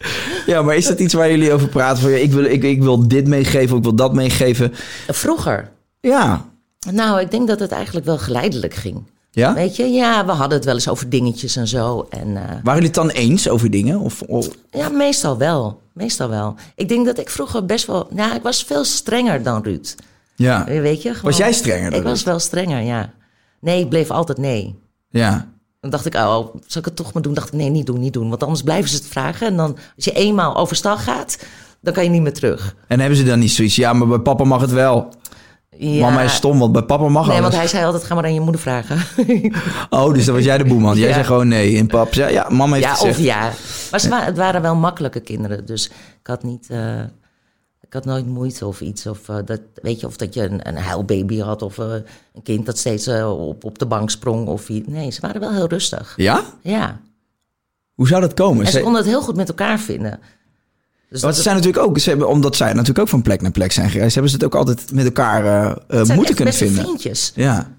B: Ja, maar is dat iets waar jullie over praten? Van, ja, ik, wil, ik, ik wil dit meegeven, of ik wil dat meegeven.
A: Vroeger.
B: Ja,
A: Nou, ik denk dat het eigenlijk wel geleidelijk ging.
B: ja?
A: Weet je, ja, we hadden het wel eens over dingetjes en zo. En eh,
B: Waren jullie het dan eens over dingen? Of, of-
A: ja, meestal wel. Meestal wel. Ik denk dat ik vroeger best wel. Nou, ik was veel strenger dan Ruud.
B: ja.
A: Weet je? gewoon-
B: Was jij strenger dan
A: Ik was
B: Ruud?
A: wel strenger, ja. Nee, ik bleef altijd nee.
B: Ja.
A: Dan dacht ik, oh, zal ik het toch maar doen? dacht ik, nee, niet doen, niet doen. Want anders blijven ze het vragen. En dan, als je eenmaal overstag gaat, dan kan je niet meer terug.
B: En hebben ze dan niet zoiets? Ja, maar bij papa mag het wel.
A: Ja.
B: Mama is stom, want bij papa mag
A: Nee,
B: alles.
A: want hij zei altijd, ga maar aan je moeder vragen.
B: Oh, dus dan was jij de boeman. Jij
A: Ja.
B: zei gewoon nee. En pap zei, ja, mama heeft
A: ja,
B: gezegd.
A: of ja. Maar ze wa- het waren wel makkelijke kinderen. Dus ik had niet... eh, ik had nooit moeite of iets. Of, eh, dat, weet je, of dat je een, een huilbaby had. Of eh, een kind dat steeds eh, op, op de bank sprong. Of, i- nee, ze waren wel heel rustig.
B: Ja?
A: Ja.
B: Hoe zou dat komen?
A: En ze
B: Ze,
A: konden het heel goed met elkaar vinden. Dus
B: want
A: dat-
B: ze zijn natuurlijk ook, ze hebben, omdat zij natuurlijk ook van plek naar plek zijn gereisd, hebben ze het ook altijd met elkaar eh, eh,
A: het zijn
B: moeten
A: echt
B: kunnen
A: beste
B: vinden.
A: vriendjes.
B: Ja.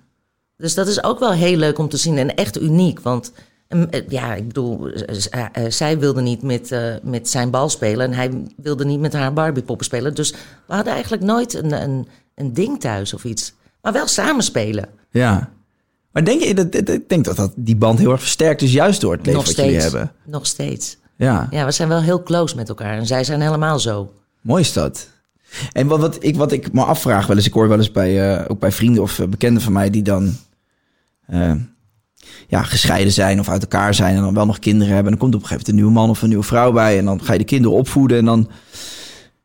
A: Dus dat is ook wel heel leuk om te zien en echt uniek. Want mm, eh, ja, ik bedoel, eh, z- eh, eh, zij wilde niet met, eh, met zijn bal spelen en hij wilde niet met haar Barbie-poppen spelen. Dus we hadden eigenlijk nooit een, een, een ding thuis of iets. Maar wel samen spelen.
B: Ja. Maar denk je, dat, dat- ik denk dat, dat die band heel erg versterkt is, juist door het leven
A: Nog
B: wat jullie
A: steeds.
B: hebben.
A: Nog steeds.
B: Ja.
A: Ja, we zijn wel heel close met elkaar en zij zijn helemaal zo.
B: Mooi is dat. En wat, wat, ik, wat ik me afvraag wel eens, ik hoor wel eens bij, eh, ook bij vrienden of eh, bekenden van mij die dan eh, ja, gescheiden zijn of uit elkaar zijn en dan wel nog kinderen hebben. En dan komt op een gegeven moment een nieuwe man of een nieuwe vrouw bij en dan ga je de kinderen opvoeden en dan...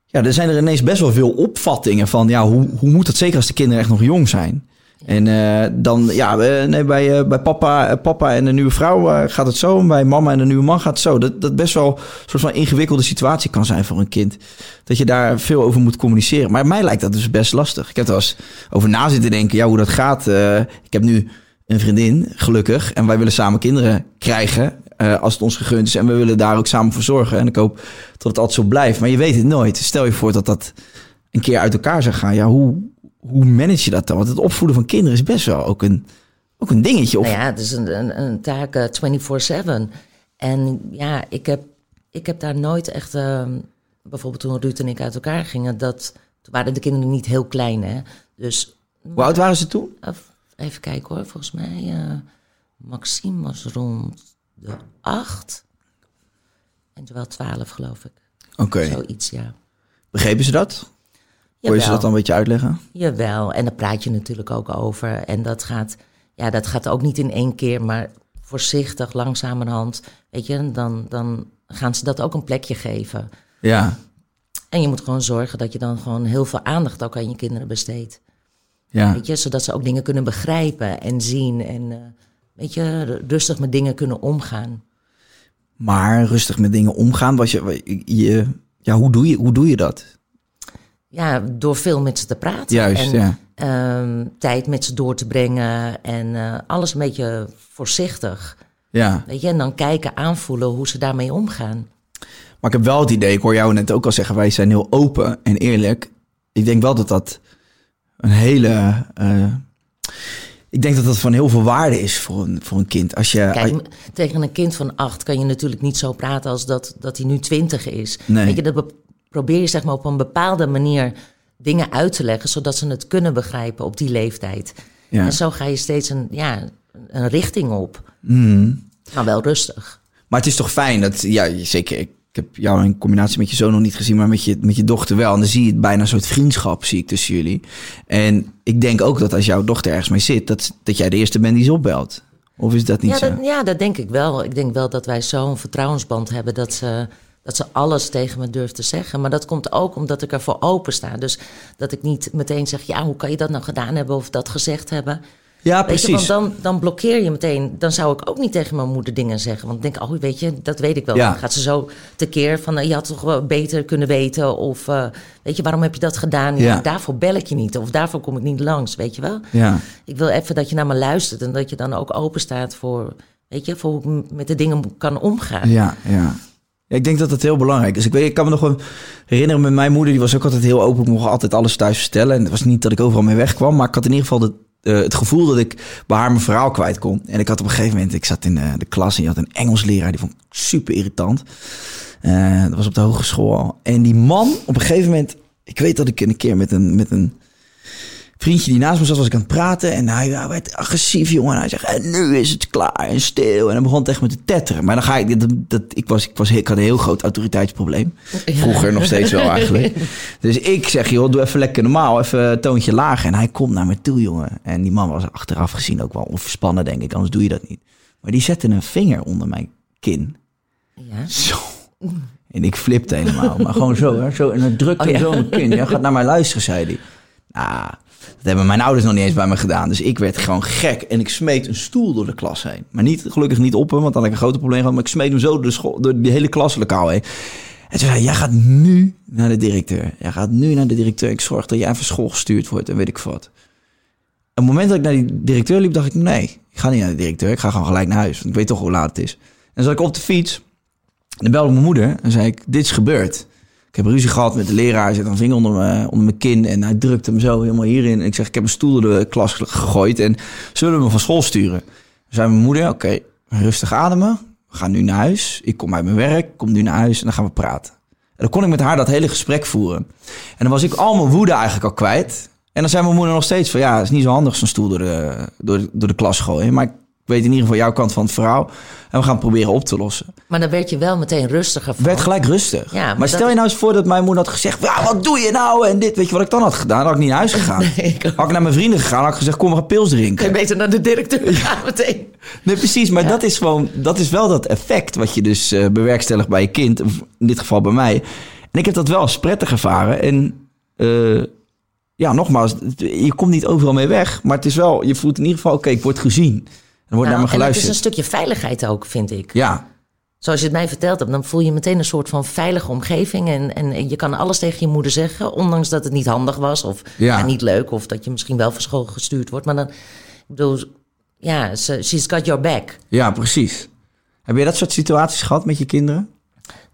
B: Ja, er zijn er ineens best wel veel opvattingen van, ja, hoe, hoe moet dat zeker als de kinderen echt nog jong zijn? En eh, dan, ja, eh, nee, bij, eh, bij papa, eh, papa en de nieuwe vrouw eh, gaat het zo. En bij mama en de nieuwe man gaat het zo. Dat, dat best wel een soort van ingewikkelde situatie kan zijn voor een kind. Dat je daar veel over moet communiceren. Maar mij lijkt dat dus best lastig. Ik heb er wel eens over na zitten denken, ja, hoe dat gaat. Eh, ik heb nu een vriendin, gelukkig. En wij willen samen kinderen krijgen, eh, als het ons gegund is. En we willen daar ook samen voor zorgen. En ik hoop dat het altijd zo blijft. Maar je weet het nooit. Stel je voor dat dat een keer uit elkaar zou gaan. Ja, hoe, hoe manage je dat dan? Want het opvoeden van kinderen is best wel ook een, ook een dingetje. Of,
A: Nou ja, het is een, een, een taak eh, 24-7. En ja, ik heb, ik heb daar nooit echt... ehm, bijvoorbeeld toen Ruud en ik uit elkaar gingen... Dat, toen waren de kinderen niet heel klein, hè. Dus
B: Hoe oud waren ze toen?
A: of- even kijken hoor, volgens mij... eh, Maxime was rond de acht. En terwijl twaalf, geloof ik.
B: Oké.
A: Zoiets, ja.
B: Begrepen ze dat? Kon je ze
A: Jawel.
B: dat dan een beetje uitleggen?
A: Jawel, en daar praat je natuurlijk ook over. En dat gaat, ja, dat gaat ook niet in één keer, maar voorzichtig, langzamerhand. Weet je, dan, dan gaan ze dat ook een plekje geven.
B: Ja.
A: En je moet gewoon zorgen dat je dan gewoon heel veel aandacht ook aan je kinderen besteedt.
B: Ja.
A: Weet je, zodat ze ook dingen kunnen begrijpen en zien. En eh, weet je, r- rustig met dingen kunnen omgaan.
B: Maar rustig met dingen omgaan. Was je, je, ja, hoe, doe je, hoe doe je dat?
A: Ja, door veel met ze te praten.
B: Juist,
A: en,
B: ja.
A: ehm, tijd met ze door te brengen. En eh, alles een beetje voorzichtig.
B: Ja.
A: Weet je, en dan kijken, aanvoelen hoe ze daarmee omgaan.
B: Maar ik heb wel het idee, ik hoor jou net ook al zeggen, wij zijn heel open en eerlijk. Ik denk wel dat dat een hele. eh, ik denk dat dat van heel veel waarde is voor een, voor een kind. Als je,
A: Kijk, m- tegen een kind van acht kan je natuurlijk niet zo praten als dat, dat hij nu twintig is.
B: Nee.
A: Weet je, dat be- probeer je zeg maar op een bepaalde manier dingen uit te leggen, zodat ze het kunnen begrijpen op die leeftijd.
B: Ja.
A: En zo ga je steeds een, ja, een richting op.
B: Mm.
A: Maar wel rustig.
B: Maar het is toch fijn dat, ja, je- zeker. Ik heb jou in combinatie met je zoon nog niet gezien, maar met je, met je dochter wel. En dan zie je het bijna een soort vriendschap zie ik tussen jullie. En ik denk ook dat als jouw dochter ergens mee zit, dat, dat jij de eerste bent die ze opbelt. Of is dat niet
A: Ja
B: zo?
A: dat, ja, dat denk ik wel. Ik denk wel dat wij zo'n vertrouwensband hebben dat ze, dat ze alles tegen me durft te zeggen. Maar dat komt ook omdat ik ervoor open sta. Dus dat ik niet meteen zeg, ja, hoe kan je dat nou gedaan hebben of dat gezegd hebben?
B: Ja,
A: Weet je,
B: precies.
A: want dan, dan blokkeer je meteen. Dan zou ik ook niet tegen mijn moeder dingen zeggen. Want ik denk, oh, weet je, dat weet ik wel.
B: Ja.
A: Dan gaat ze zo tekeer van, eh, je had toch wel beter kunnen weten. Of, eh, weet je, waarom heb je dat gedaan? Ja,
B: Ja.
A: Daarvoor bel ik je niet. Of daarvoor kom ik niet langs, weet je wel?
B: Ja.
A: Ik wil even dat je naar me luistert en dat je dan ook open staat voor, weet je, voor hoe ik m- met de dingen kan omgaan.
B: Ja, ja. Ja, ik denk dat dat heel belangrijk is. Ik, weet, ik kan me nog wel herinneren met mijn moeder, die was ook altijd heel open. Ik mocht altijd alles thuis vertellen. En het was niet dat ik overal mee wegkwam, maar ik had in ieder geval de, eh, het gevoel dat ik bij haar mijn verhaal kwijt kon. En ik had op een gegeven moment, ik zat in eh, de klas en je had een Engels leraar, die vond ik super irritant. Eh, dat was op de hogeschool al. En die man, op een gegeven moment, ik weet dat ik een keer met een, met een vriendje die naast me zat, was ik aan het praten. En hij, hij werd agressief, jongen. En hij zegt, en nu is het klaar en stil. En hij begon echt met te tetteren. Maar dan ga ik, dat, dat, ik, was, ik, was, ik had een heel groot autoriteitsprobleem. Vroeger nog steeds wel eigenlijk. Dus ik zeg, joh, doe even lekker normaal. Even een toontje lager. En hij komt naar me toe, jongen. En die man was achteraf gezien ook wel onverspannen, denk ik. Anders doe je dat niet. Maar die zette een vinger onder mijn kin.
A: Ja.
B: Zo. En ik flipte helemaal. Maar gewoon zo, hè. Zo, en dan drukte hij zo mijn kin. Jij gaat naar mij luisteren, zei hij. Nou, dat hebben mijn ouders nog niet eens bij me gedaan. Dus ik werd gewoon gek. En ik smeet een stoel door de klas heen. Maar niet, gelukkig niet op hem, want dan had ik een groot probleem gehad. Maar ik smeet hem zo door, de school, door die hele klaslokaal heen. En toen zei hij, jij gaat nu naar de directeur. Jij gaat nu naar de directeur. Ik zorg dat jij van school gestuurd wordt en weet ik wat. Op het moment dat ik naar die directeur liep, dacht ik... Nee, ik ga niet naar de directeur. Ik ga gewoon gelijk naar huis. Want ik weet toch hoe laat het is. En zat ik op de fiets. En dan belde ik mijn moeder en zei ik, dit is gebeurd. Ik heb ruzie gehad met de leraar. Hij zet een vinger onder, me, onder mijn kin en hij drukte hem zo helemaal hierin. En ik zeg, ik heb een stoel door de klas gegooid en zullen we me van school sturen? Toen zei mijn moeder, oké, rustig ademen. We gaan nu naar huis. Ik kom uit mijn werk, ik kom nu naar huis en dan gaan we praten. En dan kon ik met haar dat hele gesprek voeren. En dan was ik al mijn woede eigenlijk al kwijt. En dan zei mijn moeder nog steeds van, ja, het is niet zo handig zo'n stoel door de, door, de- door de klas gooien. Maar ik weet in ieder geval jouw kant van het verhaal. En we gaan het proberen op te lossen
A: Maar dan werd je wel meteen rustiger van.
B: werd gelijk rustig.
A: Ja, maar
B: maar
A: dat
B: stel je
A: is-
B: nou eens voor dat mijn moeder had gezegd... Ja, wat doe je nou? En dit, weet je wat ik dan had gedaan? Dan had ik niet naar huis gegaan.
A: ik ook.
B: had ik naar mijn vrienden gegaan, had ik gezegd... kom, we gaan pils
A: Kun je
B: drinken.
A: beter naar de directeur gaan meteen.
B: Nee, precies, maar dat is gewoon... dat is wel dat effect wat je dus eh bewerkstelligt bij je kind. of in dit geval bij mij. En ik heb dat wel als prettig ervaren. En eh, ja, nogmaals, het- je komt niet overal mee weg. Maar het is wel, je voelt in ieder geval... oké, ik word gezien. Er wordt
A: Nou,
B: naar me
A: en het is
B: geluisterd.
A: een stukje veiligheid ook, vind ik.
B: Ja,
A: Zoals je het mij verteld hebt, dan voel je meteen een soort van veilige omgeving. En, en, en je kan alles tegen je moeder zeggen, ondanks dat het niet handig was of
B: Ja.
A: ja, niet leuk. Of dat je misschien wel van school gestuurd wordt. Maar dan, ik bedoel, ja, ze- she's got your back.
B: ja, precies. Heb je dat soort situaties gehad met je kinderen?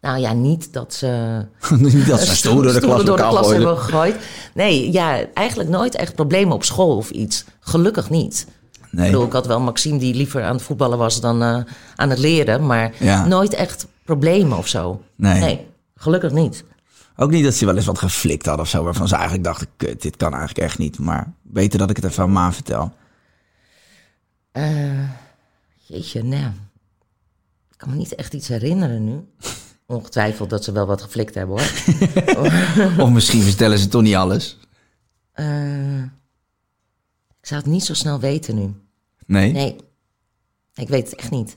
A: Nou ja, niet dat ze
B: Niet dat ze stoel door de
A: stoelen
B: klas
A: door de
B: elkaar
A: klas
B: gooiden.
A: hebben gegooid. Nee, ja, eigenlijk nooit echt problemen op school of iets. Gelukkig niet. Ik
B: Nee.
A: bedoel, ik had wel Maxime die liever aan het voetballen was dan eh, aan het leren. Maar
B: Ja.
A: nooit echt problemen of zo.
B: Nee.
A: gelukkig niet.
B: Ook niet dat ze wel eens wat geflikt hadden of zo, waarvan ze eigenlijk dachten, kut, dit kan eigenlijk echt niet. Maar beter dat ik het even aan Ma vertel.
A: Jeetje, nou. Ik kan me niet echt iets herinneren nu. Ongetwijfeld dat ze wel wat geflikt hebben hoor.
B: Of misschien vertellen ze toch niet alles.
A: Eh, ik zou het niet zo snel weten nu.
B: Nee?
A: Nee, ik weet het echt niet.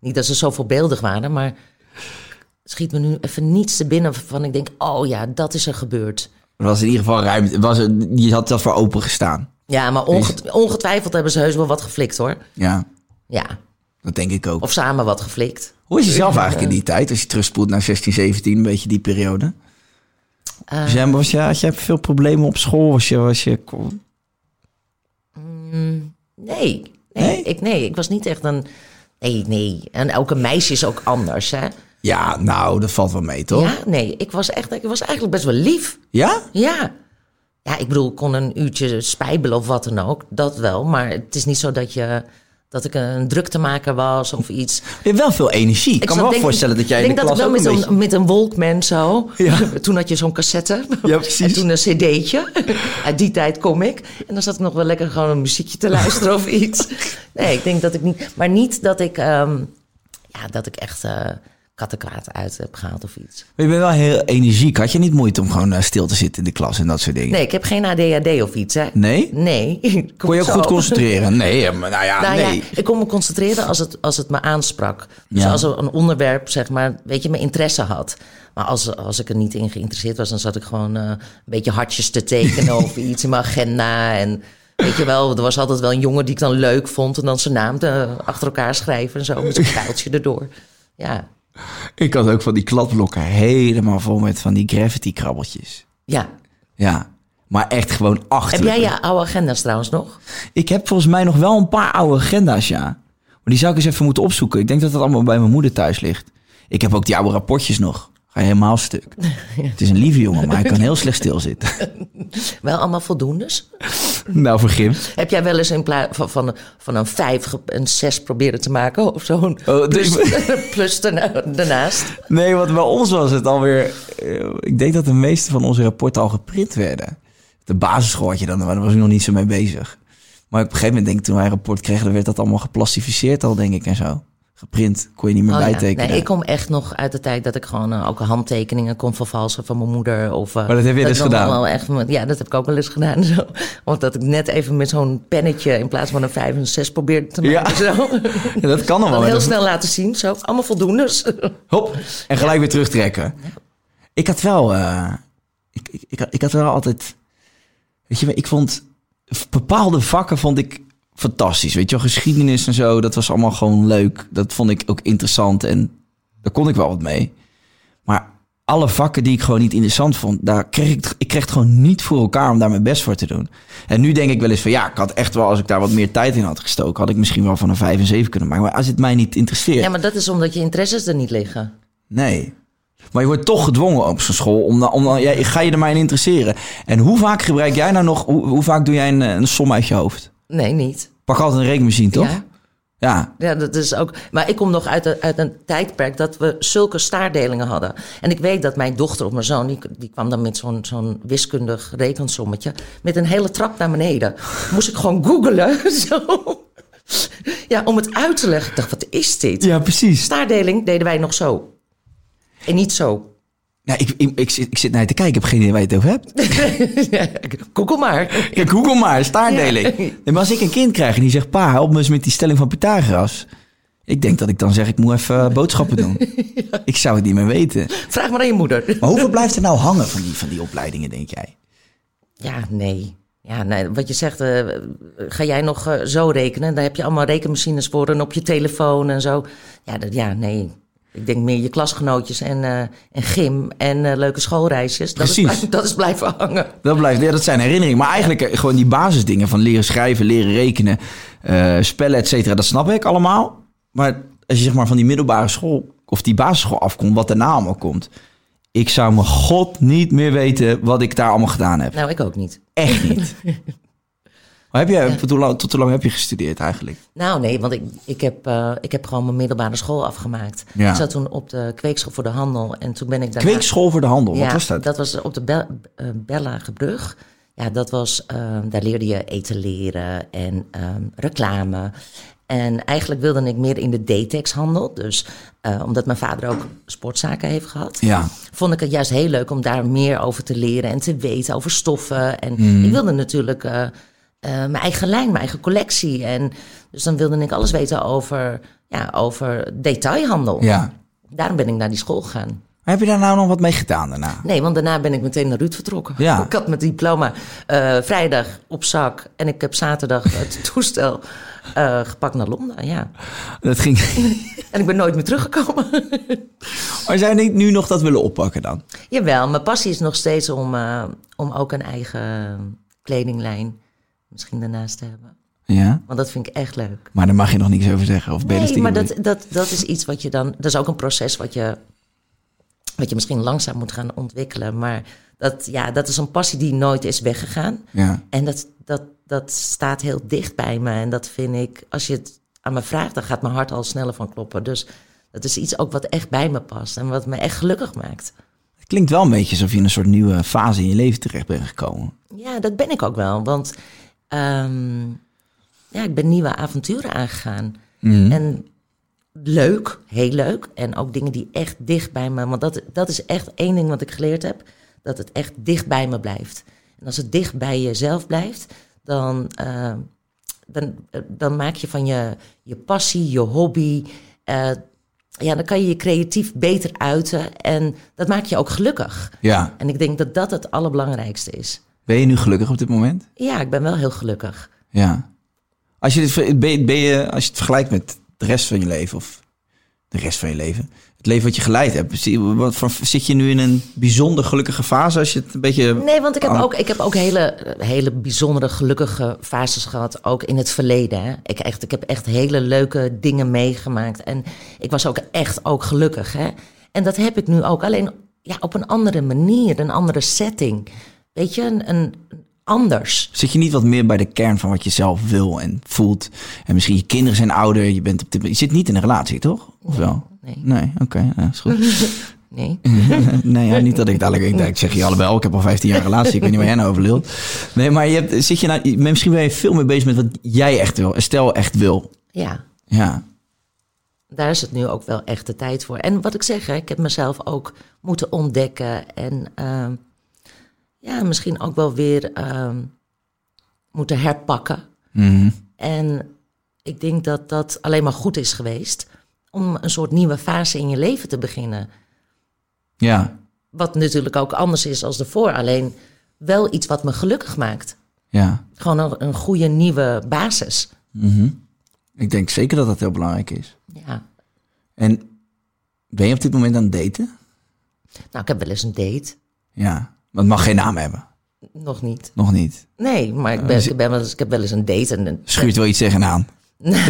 A: Niet dat ze zo voorbeeldig waren, maar het schiet me nu even niets te binnen van ik denk, oh ja, dat is er gebeurd.
B: Er was in ieder geval ruimte, was er, je had dat voor open gestaan.
A: Ja, maar onge- ongetwijfeld hebben ze heus wel wat geflikt hoor.
B: Ja,
A: Ja,
B: dat denk ik ook.
A: of samen wat geflikt.
B: Hoe is je zelf eigenlijk in die tijd, als je terugspoelt naar 16, 17, een beetje die periode?
A: Eh.
B: was jij, was jij, had jij veel problemen op school? Was je, was je,
A: Nee, nee,
B: Nee?
A: Ik, nee, ik was niet echt een... Nee, nee. En elke meisje is ook anders, hè?
B: ja, nou, dat valt wel mee, toch?
A: Ja, nee. Ik was, echt, ik was eigenlijk best wel lief.
B: ja?
A: Ja. Ja, ik bedoel, ik kon een uurtje spijbelen of wat dan ook. Dat wel. Maar het is niet zo dat je, dat ik een druktemaker was of iets.
B: Je hebt wel veel energie. Ik kan
A: zat-
B: me wel
A: denk-
B: voorstellen dat jij in
A: denk
B: de
A: dat
B: klas
A: ik wel
B: ook een
A: met
B: beetje...
A: een, met een Walkman zo.
B: Ja.
A: Toen had je zo'n cassette.
B: Ja, precies.
A: En toen een cd'tje. Uit die tijd kom ik. En dan zat ik nog wel lekker gewoon een muziekje te luisteren of iets. Nee, ik denk dat ik niet... Maar niet dat ik, ehm, ja, dat ik echt eh kattenkwaad uit heb gehaald of iets.
B: Maar je bent wel heel energiek. Had je niet moeite om gewoon eh, stil te zitten in de klas en dat soort dingen?
A: Nee, ik heb geen ADHD of iets, hè.
B: Nee?
A: Nee.
B: Kon je ook
A: Zo.
B: goed concentreren? Nee, eh, maar nou ja,
A: Nou
B: nee.
A: ja, ik kon me concentreren als het, als het me aansprak. Dus
B: Ja.
A: als er een onderwerp, zeg maar, weet je, mijn interesse had. Maar als, als ik er niet in geïnteresseerd was, dan zat ik gewoon eh, een beetje hartjes te tekenen of iets in mijn agenda. En weet je wel, er was altijd wel een jongen die ik dan leuk vond. En dan zijn naam eh, achter elkaar schrijven en zo, met zo'n pijltje erdoor. Ja,
B: Ik had ook van die kladblokken helemaal vol met van die gravity krabbeltjes.
A: ja.
B: Ja, maar echt gewoon achter.
A: Heb jij je oude agenda's trouwens nog?
B: Ik heb volgens mij nog wel een paar oude agenda's, ja. Maar die zou ik eens even moeten opzoeken. Ik denk dat dat allemaal bij mijn moeder thuis ligt. Ik heb ook die oude rapportjes nog. Ga je helemaal stuk. Het is een lieve jongen, maar hij kan heel slecht stilzitten.
A: Wel allemaal voldoendes?
B: nou, vergif.
A: Heb jij wel eens in plaats van, van, van een vijf ge- een zes proberen te maken of zo'n
B: Oh,
A: plus,
B: dus-
A: plus daarna- daarnaast?
B: Nee, want bij ons was het alweer... eh, ik denk dat de meeste van onze rapporten al geprint werden. De basisschool had je dan, maar daar was ik nog niet zo mee bezig. Maar op een gegeven moment, denk ik, toen wij een rapport kregen... dan werd dat allemaal geplastificeerd al, denk ik, en zo. Geprint, kon je niet meer
A: Oh ja.
B: bijtekenen.
A: Nee, ik kom echt nog uit de tijd dat ik gewoon eh, ook handtekeningen kon vervalsen van mijn moeder. Of, eh,
B: Maar dat heb je
A: ik
B: dus
A: dan
B: gedaan?
A: Wel echt, met- ja, dat heb ik ook wel eens gedaan. Zo. Want dat ik net even met zo'n pennetje in plaats van een 5 en 6 probeerde te
B: Ja.
A: maken. Zo.
B: Ja, dat kan
A: Dan
B: dan wel. met
A: heel
B: een-
A: snel laten zien. Zo. Allemaal voldoendes.
B: Hop, en gelijk weer terugtrekken. Ik had wel, eh, ik, ik, ik, had- ik had wel altijd, weet je, ik vond bepaalde vakken vond ik fantastisch. Weet je wel, geschiedenis en zo, dat was allemaal gewoon leuk. Dat vond ik ook interessant en daar kon ik wel wat mee. Maar alle vakken die ik gewoon niet interessant vond, daar kreeg ik, het- ik kreeg het gewoon niet voor elkaar om daar mijn best voor te doen. En nu denk ik wel eens van ja, ik had echt wel, als ik daar wat meer tijd in had gestoken, had ik misschien wel van een 5 en 7 kunnen maken. Maar als het mij niet interesseert.
A: Ja, maar dat is omdat je interesses er niet liggen.
B: Nee. Maar je wordt toch gedwongen op zijn school. Om, dan- om, dan- jij, ga je er maar in interesseren. En hoe vaak gebruik jij nou nog... Hoe, hoe vaak doe jij een, een som uit je hoofd?
A: Nee, niet.
B: Pak altijd een rekenmachine, toch?
A: Ja.
B: Ja.
A: Ja, dat is ook. Maar ik kom nog uit, een- uit een tijdperk dat we zulke staardelingen hadden. En ik weet dat mijn dochter of mijn zoon, die, die kwam dan met zo'n zo'n wiskundig rekensommetje. met een hele trap naar beneden. Moest ik gewoon googelen. Zo. Ja, om het uit te leggen. Ik dacht, wat is dit?
B: Ja, precies.
A: Staardeling deden wij nog zo. En niet zo.
B: Nou, ik, ik, ik, zit, ik zit naar je te kijken. Ik heb geen idee waar je het over hebt.
A: Google maar.
B: Kijk, Google maar. Staardeling. Nee, maar als ik een kind krijg en die zegt... Pa, help me eens met die stelling van Pythagoras. Ik denk dat ik dan zeg... Ik moet even eh, boodschappen doen. Ik zou het niet meer weten.
A: Vraag maar aan je moeder.
B: Maar hoeveel blijft er nou hangen van die, van die opleidingen, denk jij?
A: Ja, nee. Ja, nee. Wat je zegt, eh, ga jij nog eh, zo rekenen? Daar heb je allemaal rekenmachines voor en op je telefoon en zo. Ja, dat, ja nee. Ik denk meer je klasgenootjes en, eh, en gym en eh, leuke schoolreisjes. Dat
B: Precies.
A: Is, blij- dat is blijven hangen.
B: Dat blijft, ja, dat zijn herinneringen. Maar eigenlijk eh, gewoon die basisdingen van leren schrijven, leren rekenen, eh, spellen, et cetera. Dat snap ik allemaal. Maar als je zeg maar van die middelbare school of die basisschool afkomt, wat daarna allemaal komt. Ik zou mijn god niet meer weten wat ik daar allemaal gedaan heb.
A: Nou, ik ook niet.
B: Echt niet. Maar heb jij, tot, hoe lang, tot hoe lang heb je gestudeerd eigenlijk?
A: Nou, nee, want ik, ik, heb, eh, ik heb gewoon mijn middelbare school afgemaakt.
B: Ja.
A: Ik zat toen op de kweekschool voor de handel en toen ben ik daarna...
B: Kweekschool voor de handel, wat
A: ja,
B: was dat?
A: was op de Bel eh, Bellagebrug. Ja, dat was, eh, daar leerde je eten leren en ehm, reclame. En eigenlijk wilde ik meer in de detexhandel. Dus eh, omdat mijn vader ook sportzaken heeft gehad
B: Ja.
A: vond ik het juist heel leuk om daar meer over te leren en te weten over stoffen. En
B: Mhm.
A: ik wilde natuurlijk eh, eh, mijn eigen lijn, mijn eigen collectie. En dus dan wilde ik alles weten over, ja, over detailhandel.
B: ja.
A: Daarom ben ik naar die school gegaan.
B: Maar heb je daar nou nog wat mee gedaan daarna?
A: Nee, want daarna ben ik meteen naar Ruud vertrokken.
B: Ja.
A: Ik had mijn diploma eh, vrijdag op zak en ik heb zaterdag het toestel eh, gepakt naar Londen. Ja.
B: Dat ging...
A: En ik ben nooit meer teruggekomen.
B: Maar zou je niet nu nog dat willen oppakken dan?
A: Jawel, mijn passie is nog steeds om, eh, om ook een eigen kledinglijn misschien daarnaast te hebben.
B: Ja.
A: Want dat vind ik echt leuk.
B: Maar daar mag je nog niks over zeggen. Of ben je
A: Nee,
B: stiekem
A: maar
B: niet?
A: dat, dat, dat is iets wat je dan... Dat is ook een proces wat je, wat je misschien langzaam moet gaan ontwikkelen. Maar dat, ja, dat is een passie die nooit is weggegaan.
B: Ja.
A: En dat, dat, dat staat heel dicht bij me. En dat vind ik, als je het aan me vraagt, dan gaat mijn hart al sneller van kloppen. Dus dat is iets ook wat echt bij me past en wat me echt gelukkig maakt.
B: Het klinkt wel een beetje alsof je in een soort nieuwe fase in je leven terecht bent gekomen.
A: Ja, dat ben ik ook wel. Want ehm, ja, ik ben nieuwe avonturen aangegaan. En leuk, heel leuk. En ook dingen die echt dicht bij me. Want dat, dat is echt één ding wat ik geleerd heb: dat het echt dicht bij me blijft. En als het dicht bij jezelf blijft, dan, ehm, dan, eh, dan maak je van je, je passie, je hobby. eh, ja, dan kan je je creatief beter uiten. En dat maakt je ook gelukkig.
B: Ja.
A: En ik denk dat dat het allerbelangrijkste is.
B: Ben je nu gelukkig op dit moment?
A: Ja, ik ben wel heel gelukkig.
B: Ja. Als je, dit, ver- ben je, ben je, als je het vergelijkt met de rest van je leven, of de rest van je leven, het leven wat je geleid hebt, zie- wat, voor- zit je nu in een bijzonder gelukkige fase als je het een beetje.
A: Nee, want ik heb
B: aan-
A: ook, ik heb ook hele, hele bijzondere, gelukkige fases gehad. Ook in het verleden. Hè. Ik, echt, ik heb echt hele leuke dingen meegemaakt. En ik was ook echt ook gelukkig. Hè. En dat heb ik nu ook. Alleen ja, op een andere manier, een andere setting. Weet je, een, een anders.
B: Zit je niet wat meer bij de kern van wat je zelf wil en voelt? En misschien je kinderen zijn ouder, je, bent op dit, je zit niet in een relatie, toch? Of wel?
A: nee.
B: oké, ja, is goed.
A: Nee.
B: nee, ja, niet dat ik dadelijk ik, denk, ik zeg je allebei, ik heb al 15 jaar relatie, ik weet niet waar jij nou over lult. Nee, maar je hebt, zit je nou, je- misschien ben je veel meer bezig met wat jij echt wil, stel echt wil.
A: Ja,
B: Ja,
A: daar is het nu ook wel echt de tijd voor. En wat ik zeg, hè, ik heb mezelf ook moeten ontdekken. En ehm, ja, misschien ook wel weer ehm, moeten herpakken. En ik denk dat dat alleen maar goed is geweest. Om een soort nieuwe fase in je leven te beginnen.
B: ja,
A: Wat natuurlijk ook anders is als ervoor. Alleen wel iets wat me gelukkig maakt.
B: ja.
A: Gewoon een, een goede nieuwe basis.
B: Ik denk zeker dat dat heel belangrijk is.
A: Ja.
B: En ben je op dit moment aan het daten?
A: Nou, ik heb wel eens een date.
B: Ja, want het mag geen naam hebben.
A: Nog niet.
B: Nog niet.
A: Nee, maar ik, ben, ik, ben wel eens, ik heb wel eens een date. En, een-
B: Schuurt wel iets tegenaan.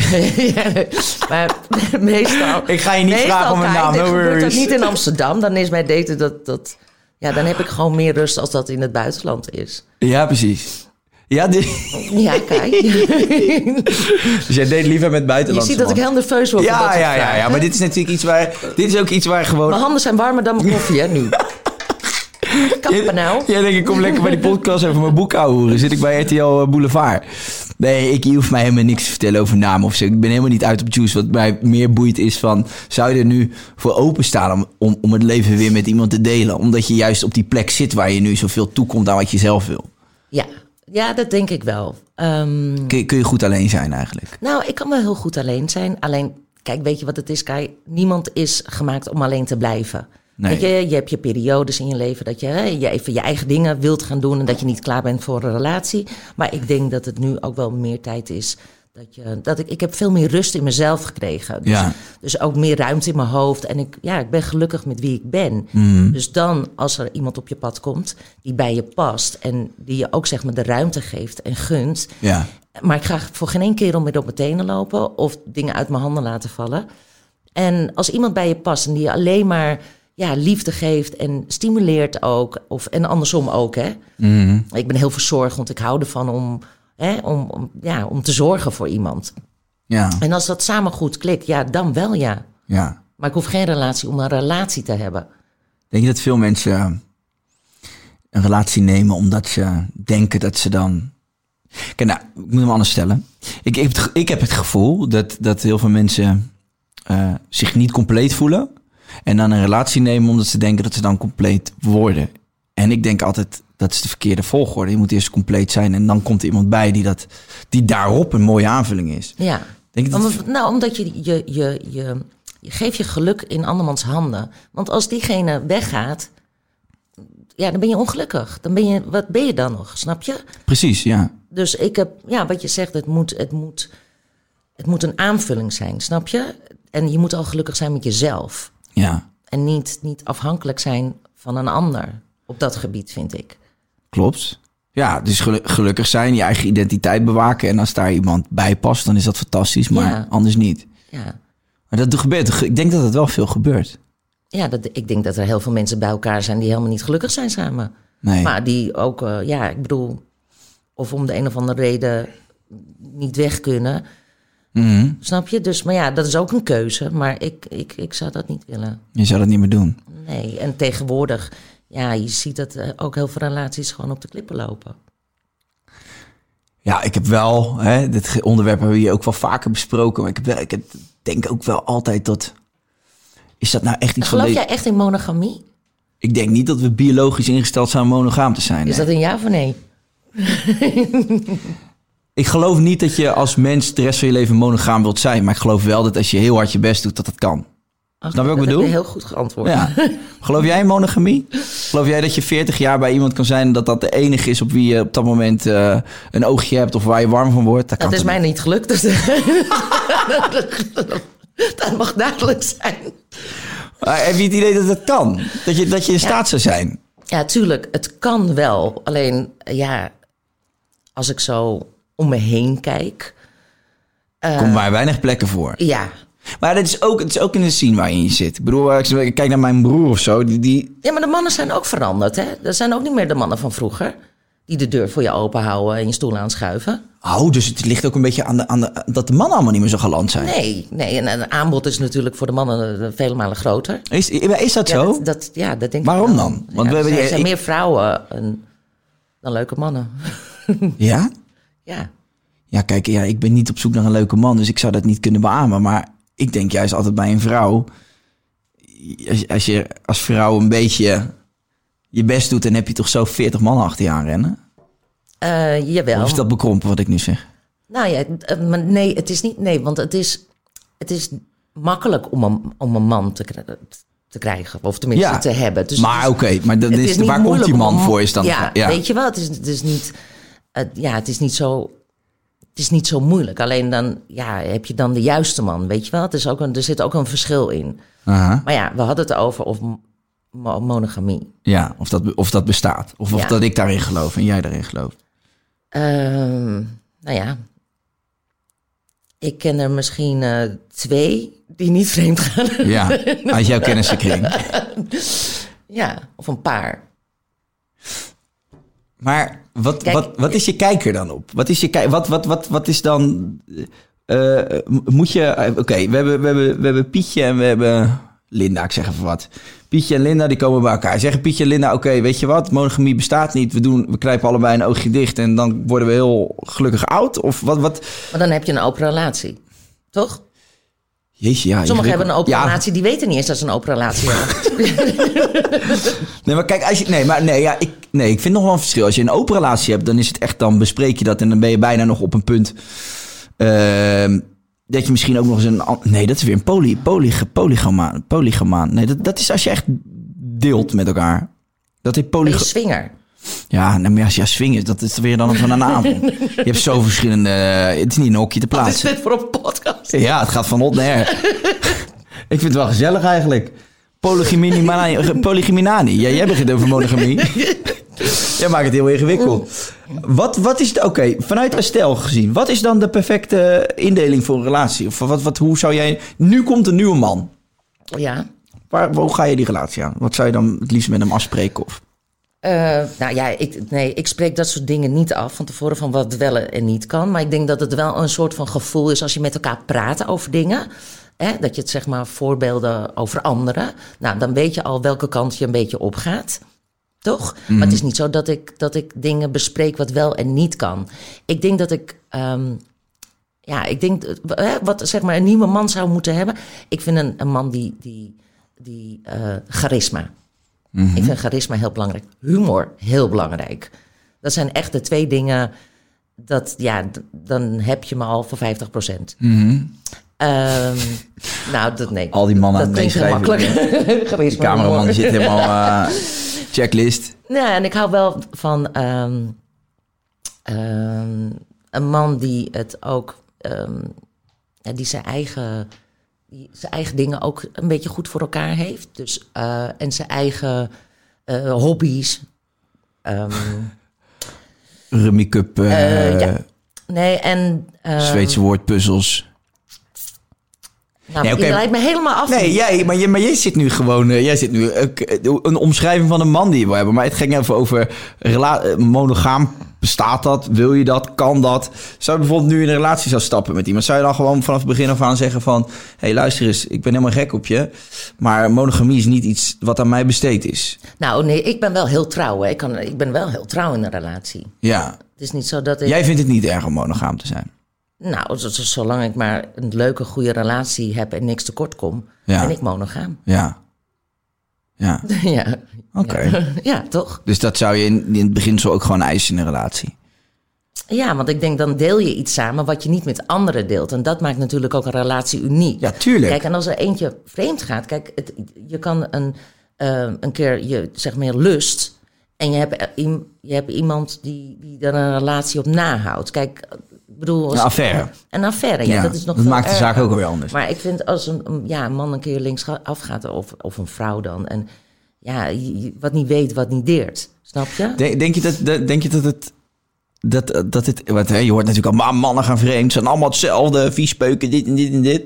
A: Ja, maar meestal.
B: Ik ga je niet
A: meestal
B: vragen om een
A: ga ik-
B: naam, no
A: dit gebeurt dat
B: worries.
A: niet in Amsterdam. Dan is mijn daten dat, dat. Ja, dan heb ik gewoon meer rust als dat in het buitenland is.
B: Ja, precies. Ja, die-
A: Ja, kijk.
B: dus jij deed liever met
A: Je
B: buitenlandse
A: ziet dat ik
B: mannen.
A: heel nerveus word. van dat
B: ja,
A: soort
B: ja, ja,
A: vragen.
B: ja, maar dit is natuurlijk iets waar... Dit is ook iets waar
A: Mijn
B: gewoon...
A: handen zijn warmer dan mijn koffie, hè, nu. Kappen nou.
B: Jij denkt, ik kom lekker bij die podcast even mijn boek ouwehoeren. Zit ik bij RTL eh, Boulevard. Nee, ik je hoeft mij helemaal niks te vertellen over namen of zo. Ik ben helemaal niet uit op juice. Wat mij meer boeit is van... Zou je er nu voor openstaan om, om, om het leven weer met iemand te delen? Omdat je juist op die plek zit waar je nu zoveel toekomt aan wat je zelf wil.
A: Ja, ja dat denk ik wel. Ehm,
B: Kun, kun je goed alleen zijn eigenlijk.
A: Nou, ik kan wel heel goed alleen zijn. Alleen, kijk, weet je wat het is, Kai? Niemand is gemaakt om alleen te blijven.
B: Nee.
A: Weet je, je hebt je periodes in je leven dat je, hè, je even je eigen dingen wilt gaan doen en dat je niet klaar bent voor een relatie. Maar ik denk dat het nu ook wel meer tijd is. Dat je, dat ik, ik heb veel meer rust in mezelf gekregen. Dus,
B: Ja.
A: dus ook meer ruimte in mijn hoofd. En ik, ja, ik ben gelukkig met wie ik ben.
B: Mhm.
A: Dus dan, als er iemand op je pad komt die bij je past en die je ook zeg maar de ruimte geeft en gunt,
B: Ja.
A: maar ik ga voor geen één kerel meer op mijn tenen lopen of dingen uit mijn handen laten vallen. En als iemand bij je past en die je alleen maar ja, liefde geeft en stimuleert ook, of, en andersom ook, hè. Ik ben heel verzorgend, ik hou ervan om, hè, om, om, ja, om te zorgen voor iemand.
B: Ja.
A: En als dat samen goed klikt, ja, dan wel ja.
B: Ja.
A: Maar ik hoef geen relatie om een relatie te hebben.
B: Denk je dat veel mensen eh, een relatie nemen omdat ze denken dat ze dan... Kijk, nou, ik moet hem anders stellen. Ik, ik, heb, het, ge- ik heb het gevoel dat, dat heel veel mensen eh, zich niet compleet voelen. En dan een relatie nemen omdat ze denken dat ze dan compleet worden. En ik denk altijd, dat is de verkeerde volgorde. Je moet eerst compleet zijn en dan komt er iemand bij die, dat, die daarop een mooie aanvulling is.
A: Ja.
B: Denk je dat-
A: Omdat- nou, omdat je, je, je, je, je geeft je geluk in andermans handen. Want als diegene weggaat, ja, dan ben je ongelukkig. Dan ben je, wat ben je dan nog, snap je?
B: Precies, ja.
A: Dus ik heb, ja, wat je zegt, het moet, het moet, het moet een aanvulling zijn, snap je? En je moet al gelukkig zijn met jezelf.
B: Ja,
A: En niet, niet afhankelijk zijn van een ander op dat gebied, vind ik.
B: Klopt. Ja, dus gelu- gelukkig zijn, je eigen identiteit bewaken. En als daar iemand bij past, dan is dat fantastisch, maar
A: Ja.
B: anders niet.
A: Ja.
B: Maar dat gebeurt, ik denk dat het wel veel gebeurt.
A: Ja, dat, ik denk dat er heel veel mensen bij elkaar zijn die helemaal niet gelukkig zijn samen.
B: Nee.
A: Maar die ook, eh, ja, ik bedoel, of om de een of andere reden niet weg kunnen.
B: Mhm.
A: Snap je? Dus, maar ja, dat is ook een keuze. Maar ik, ik, ik zou dat niet willen.
B: Je zou dat niet meer doen.
A: Nee. En tegenwoordig, ja, je ziet dat eh, ook heel veel relaties gewoon op de klippen lopen.
B: Ja, ik heb wel, hè, dit ge- onderwerp hebben we hier ook wel vaker besproken, maar ik, heb wel, ik heb- denk ook wel altijd dat, is dat nou echt iets van
A: Geloof
B: deze-
A: jij echt in monogamie?
B: Ik denk niet dat we biologisch ingesteld zijn om monogaam te zijn.
A: Is
B: nee.
A: dat een ja of een nee?
B: Ik geloof niet dat je als mens de rest van je leven monogaam wilt zijn, maar ik geloof wel dat als je heel hard je best doet, dat dat kan.
A: Oké,
B: Snap je wat Nou,
A: dat
B: ik
A: heb
B: bedoel?
A: je heel goed geantwoord.
B: Ja. Geloof jij in monogamie? Geloof jij dat je 40 jaar bij iemand kan zijn en dat dat de enige is op wie je op dat moment eh, een oogje hebt of waar je warm van wordt? Dat, kan
A: Dat is
B: toch
A: mij
B: niet?
A: niet gelukt. Dus dat mag duidelijk zijn.
B: Maar heb je het idee dat dat kan? Dat je, dat je in staat zou zijn?
A: Ja, tuurlijk, het kan wel. Alleen, eh, ja, als ik zo om me heen kijk.
B: Komt maar weinig plekken voor.
A: Eh. Ja,
B: Maar dat is ook, het is ook in de scene waarin je zit. Ik bedoel, als ik kijk naar mijn broer of zo. Die, die,
A: ja maar de mannen zijn ook veranderd. Hè? Er zijn ook niet meer de mannen van vroeger. Die de deur voor je open houden en je stoel aanschuiven.
B: oh, dus het ligt ook een beetje aan, de, aan de, dat de mannen allemaal niet meer zo galant zijn.
A: Nee, nee. En het aanbod is natuurlijk voor de mannen eh, vele malen groter.
B: Is, is dat
A: Ja,
B: zo?
A: dat, dat- ja, dat denk ik
B: Waarom
A: wel.
B: dan? Want
A: Ja,
B: we hebben
A: er zijn,
B: die-
A: zijn
B: ik-
A: meer vrouwen en- dan leuke mannen.
B: Ja?
A: ja.
B: Ja, kijk, ja, ik ben niet op zoek naar een leuke man, dus ik zou dat niet kunnen beamen. Maar ik denk juist altijd bij een vrouw, als, als je als vrouw een beetje je best doet, dan heb je toch zo 40 man achter je aanrennen.
A: Eh, jawel.
B: Of is dat bekrompen wat ik nu zeg?
A: Nou ja, eh, maar nee, het is niet nee, want het is, het is makkelijk om een, om een man te, kri- te krijgen, of tenminste te hebben. Dus
B: maar
A: het
B: oké,
A: is-
B: maar dan
A: het
B: is,
A: is niet
B: waar komt
A: moeilijk
B: die
A: om
B: man
A: een
B: voor? Is dan
A: ja, weet je wel, het is, het is niet, het- ja, het is niet zo... Het is niet zo moeilijk. Alleen dan ja, heb je dan de juiste man. Weet je wel? Het is ook een, er zit ook een verschil in.
B: Aha.
A: Maar ja, we hadden het over of mo- monogamie.
B: Ja, of dat, of dat bestaat. Of, of
A: Ja.
B: dat ik daarin geloof en jij daarin gelooft.
A: Ehm, nou ja. Ik ken er misschien eh, twee die niet vreemd gaan.
B: Ja, uit jouw kennissenkring.
A: ja, of een paar.
B: Maar wat,
A: Kijk,
B: wat, wat is je kijker dan op? Wat is, je kijk, wat, wat, wat, wat is dan... eh, eh, m- moet je... eh, Oké, we, hebben, we, hebben, we hebben Pietje en we hebben Linda, ik zeg even wat. Pietje en Linda, die komen bij elkaar. Zeggen Pietje en Linda, oké, weet je wat? Monogamie bestaat niet. We, doen, we knijpen allebei een oogje dicht en dan worden we heel gelukkig oud. Of wat... wat?
A: Maar dan heb je een open relatie. Toch?
B: Jeetje, ja.
A: Sommigen hebben een open
B: Ja,
A: relatie, die weten niet eens dat ze een open relatie hebben.
B: Nee, maar kijk, als je, nee, maar nee, ja, ik, nee, ik vind nog wel een verschil. Als je een open relatie hebt, dan is het echt, dan bespreek je dat en dan ben je bijna nog op een punt. ehm, dat je misschien ook nog eens een. an- Nee, dat is weer een poly, polyge- polygamaan. polygamaan. Nee, dat, dat is als je echt deelt met elkaar. Dat heet
A: Een
B: polygamaan.
A: swinger.
B: Ja, nou, maar als je swing is, dat is weer dan van een avond. Je hebt zo verschillende. eh, Het is niet een hokje te
A: Wat is
B: plaatsen.
A: dit voor een podcast?
B: Ja, het gaat van hot naar her. Ik vind het wel gezellig eigenlijk. Polygeminani. Polygeminani. Ja, jij begint over monogamie. Jij maakt het heel ingewikkeld. Wat, wat is het? Oké, vanuit Estelle gezien, wat is dan de perfecte indeling voor een relatie? Of wat, wat, hoe zou jij. Nu komt een nieuwe man.
A: Ja.
B: Waar, hoe ga je die relatie aan? Wat zou je dan het liefst met hem afspreken? Of?
A: Eh, nou ja, ik, nee, ik spreek dat soort dingen niet af van tevoren van wat wel en niet kan. Maar ik denk dat het wel een soort van gevoel is als je met elkaar praat over dingen. Hè, dat je het zeg maar voorbeelden over anderen. Nou, dan weet je al welke kant je een beetje opgaat. Toch? Maar
B: Mhm.
A: het is niet zo dat ik, dat ik dingen bespreek wat wel en niet kan. Ik denk dat ik. ehm, ja, ik denk dat- hè, wat zeg maar een nieuwe man zou moeten hebben. Ik vind een, een man die, die, die eh, charisma.
B: Mhm.
A: Ik vind charisma heel belangrijk. Humor heel belangrijk. Dat zijn echt de twee dingen. Dat, ja, d- dan heb je me al voor 50 procent. Ehm, nou, dat nee.
B: Mhm. Al die mannen
A: dat
B: aan het
A: klinkt heel
B: meeschrijven.
A: makkelijk.
B: De
A: charisma.
B: cameraman
A: humor.
B: die zit helemaal. eh, checklist.
A: Nou, en ik hou wel van ehm, ehm, een man die het ook, ehm, ja, die zijn eigen, die zijn eigen dingen ook een beetje goed voor elkaar heeft. Dus, eh, en zijn eigen eh, hobby's. Ehm,
B: Remake-up. eh,
A: Eh, ja. nee, en ehm,
B: Zweedse woordpuzzels.
A: Nou,
B: Nee, oké,
A: Je
B: maar-
A: leidt me helemaal af.
B: Nee, jij, maar, jij, maar jij zit nu gewoon... eh, jij zit nu eh, k- eh, een omschrijving van een man die je wil hebben. Maar het ging even over rela- eh, monogaam. Bestaat dat? Wil je dat? Kan dat? Zou je bijvoorbeeld nu in een relatie zou stappen met iemand? Zou je dan gewoon vanaf het begin af aan zeggen van... Hé, hey, luister eens, ik ben helemaal gek op je. Maar monogamie is niet iets wat aan mij besteed is.
A: Nou, nee, ik ben wel heel trouw. Hè. Ik, kan, ik ben wel heel trouw in een relatie.
B: Ja.
A: Het is niet zo dat ik...
B: Jij vindt het niet erg om monogaam te zijn?
A: Nou, z- z- zolang ik maar een leuke, goede relatie heb en niks tekort kom,
B: Ja.
A: ben ik monogaam.
B: Ja. Ja,
A: ja.
B: oké.
A: ja, toch?
B: Dus dat zou je in, in het beginsel ook gewoon eisen in een relatie?
A: Ja, want ik denk dan deel je iets samen wat je niet met anderen deelt. En dat maakt natuurlijk ook een relatie uniek.
B: Ja, tuurlijk.
A: Kijk, en als er eentje vreemd gaat, kijk, het, je kan een, eh, een keer je zeg maar lust. En je hebt, eh, iem- je hebt iemand die, die daar een relatie op nahoudt. Kijk, eh, ik bedoel. als-
B: Een affaire.
A: Een affaire, ja.
B: Ja,
A: dat is nog
B: dat
A: veel
B: maakt de
A: erger.
B: zaak ook alweer anders.
A: Maar ik vind als een, een- ja, een man een keer links afgaat, of, of een vrouw dan. En ja, je- je- wat niet weet, wat niet deert. Snap je?
B: Denk, denk je dat, dat- denk je dat het... Dat, dat het want, hè, je hoort natuurlijk al, "Maar mannen gaan vreemd, zijn allemaal hetzelfde, viespeuken, dit en dit en dit.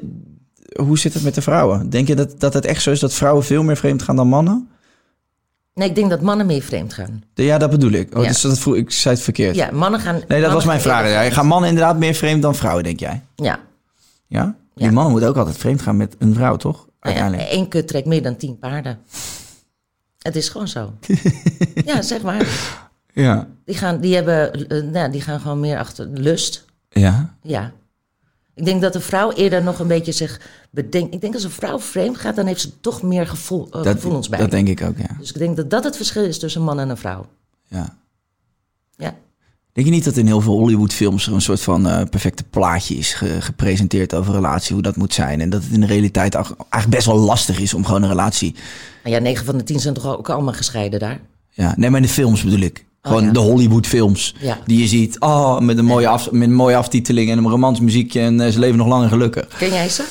B: Hoe zit het met de vrouwen? Denk je dat, dat het echt zo is dat vrouwen veel meer vreemd gaan dan mannen?
A: Nee, ik denk dat mannen meer vreemd gaan.
B: Ja, dat bedoel ik. Oh,
A: Ja.
B: dus dat vroeg, ik zei het verkeerd.
A: Ja, mannen gaan.
B: Nee, dat
A: mannen
B: was mijn
A: gaan
B: vraag.
A: eerder
B: Ja. Gaan mannen inderdaad meer vreemd dan vrouwen, denk jij?
A: Ja. nou
B: Ja? Die
A: Ja. Nou
B: mannen moeten ook altijd vreemd gaan met een vrouw, toch? Uiteindelijk.
A: Eén kut trekt meer dan tien paarden. Het is gewoon zo. ja, zeg maar.
B: Ja.
A: Die gaan, die, hebben, eh, nou, die gaan gewoon meer achter lust.
B: Ja.
A: Ja. Ik denk dat een vrouw eerder nog een beetje zich bedenkt. Ik denk als een vrouw vreemd gaat, dan heeft ze toch meer gevoel, eh, gevoelens bij.
B: Dat denk ik ook, ja.
A: Dus ik denk dat dat het verschil is tussen een man en een vrouw.
B: ja.
A: Ja.
B: Denk je niet dat in heel veel Hollywoodfilms er een soort van eh, perfecte plaatje is ge- gepresenteerd over relatie, hoe dat moet zijn? En dat het in de realiteit ach- eigenlijk best wel lastig is om gewoon een relatie.
A: Maar Nou ja, 9 van de 10 zijn toch ook allemaal gescheiden daar?
B: Ja, nee, maar in de films bedoel ik. Gewoon
A: Oh, ja.
B: de Hollywoodfilms
A: Ja.
B: die je ziet. Oh, met een, mooie af, met een mooie aftiteling en een romantisch muziekje en eh, ze leven nog lang en gelukkig.
A: Ken jij ze?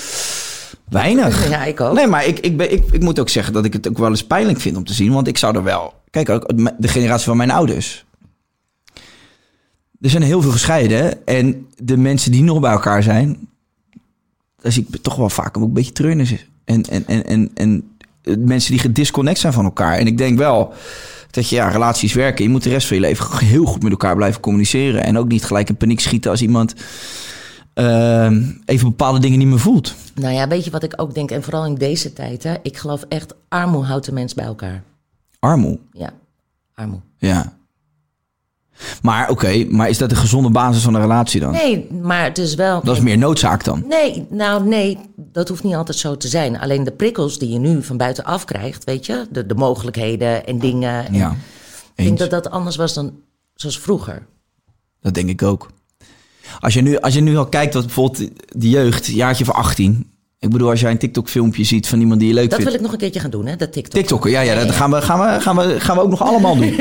B: Weinig.
A: Ja, ik ook.
B: Nee, maar ik, ik, ben, ik, ik moet ook zeggen dat ik het ook wel eens pijnlijk vind om te zien. Want ik zou er wel... Kijk, ook me- de generatie van mijn ouders. Er zijn heel veel gescheiden. En de mensen die nog bij elkaar zijn... Daar zie ik toch wel vaak ook een beetje treurnis. En, en, en, en, en eh, mensen die gedisconnect zijn van elkaar. En ik denk wel dat je, ja, relaties werken. Je moet de rest van je leven g- heel goed met elkaar blijven communiceren. En ook niet gelijk in paniek schieten als iemand... eh, even bepaalde dingen niet meer voelt.
A: Nou ja, weet je wat ik ook denk? En vooral in deze tijd, hè? Ik geloof echt, armoe houdt de mens bij elkaar.
B: Armoe.
A: Ja, armoe.
B: Ja. Maar oké, maar is dat de gezonde basis van een relatie dan?
A: Nee, maar het is wel.
B: Dat is meer noodzaak dan.
A: Nee, nou nee, dat hoeft niet altijd zo te zijn. Alleen de prikkels die je nu van buitenaf krijgt, weet je, de, de mogelijkheden en dingen. En
B: Ja.
A: Ik denk
B: Eens.
A: dat
B: Dat...
A: dat anders was dan zoals vroeger.
B: denk ik ook. Als je, nu, als je nu al kijkt wat bijvoorbeeld de jeugd, jaartje van 18. Ik bedoel, als jij een TikTok-filmpje ziet van iemand die je leuk
A: Dat wil
B: vindt.
A: ik nog een keertje gaan doen, hè, dat TikTok.
B: TikTokken, ja, ja, dat gaan we, gaan, we, gaan, we, gaan we ook nog allemaal doen.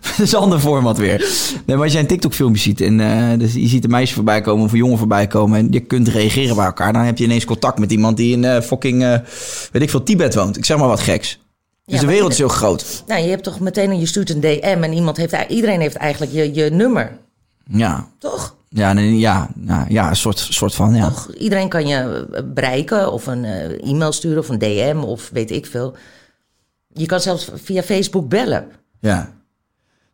B: dat is een ander format weer. Nee, maar als jij een TikTok-filmpje ziet en eh, dus je ziet een meisje voorbij komen of een jongen voorbij komen en je kunt reageren bij elkaar, dan heb je ineens contact met iemand die in eh, fucking, eh, weet ik veel, Tibet woont. Ik zeg maar wat geks. Dus de
A: maar
B: wereld is
A: ieder-
B: heel groot.
A: Nou, je hebt toch meteen een, je stuurt een DM en iemand heeft, iedereen heeft eigenlijk je, je nummer,
B: Ja,
A: toch?
B: ja, nee, ja, ja, ja, een soort, soort van, ja.
A: Toch? Iedereen kan je eh, bereiken of een eh, e-mail sturen of een DM of weet ik veel. Je kan zelfs via Facebook bellen.
B: ja.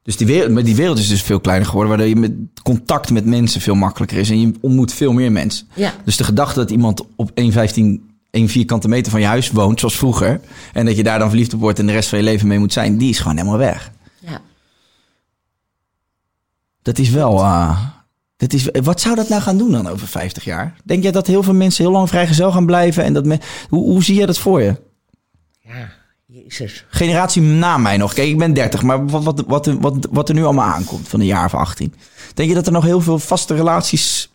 B: Dus die wereld, maar die wereld is dus veel kleiner geworden, waardoor je met contact met mensen veel makkelijker is en je ontmoet veel meer mensen.
A: Ja.
B: Dus de gedachte dat iemand op 1,15, 1 vierkante meter van je huis woont, zoals vroeger, en dat je daar dan verliefd op wordt en de rest van je leven mee moet zijn, die is gewoon helemaal weg.
A: Ja.
B: Dat is wel. eh, dat is, wat zou dat nou gaan doen dan over 50 jaar? Denk jij dat heel veel mensen heel lang vrijgezel gaan blijven? En dat men, hoe, hoe zie jij dat voor je?
A: Ja, jezus.
B: Generatie na mij nog. Kijk, ik ben 30, maar wat, wat, wat, wat, wat er nu allemaal aankomt van een jaar of 18. Denk je dat er nog heel veel vaste relaties.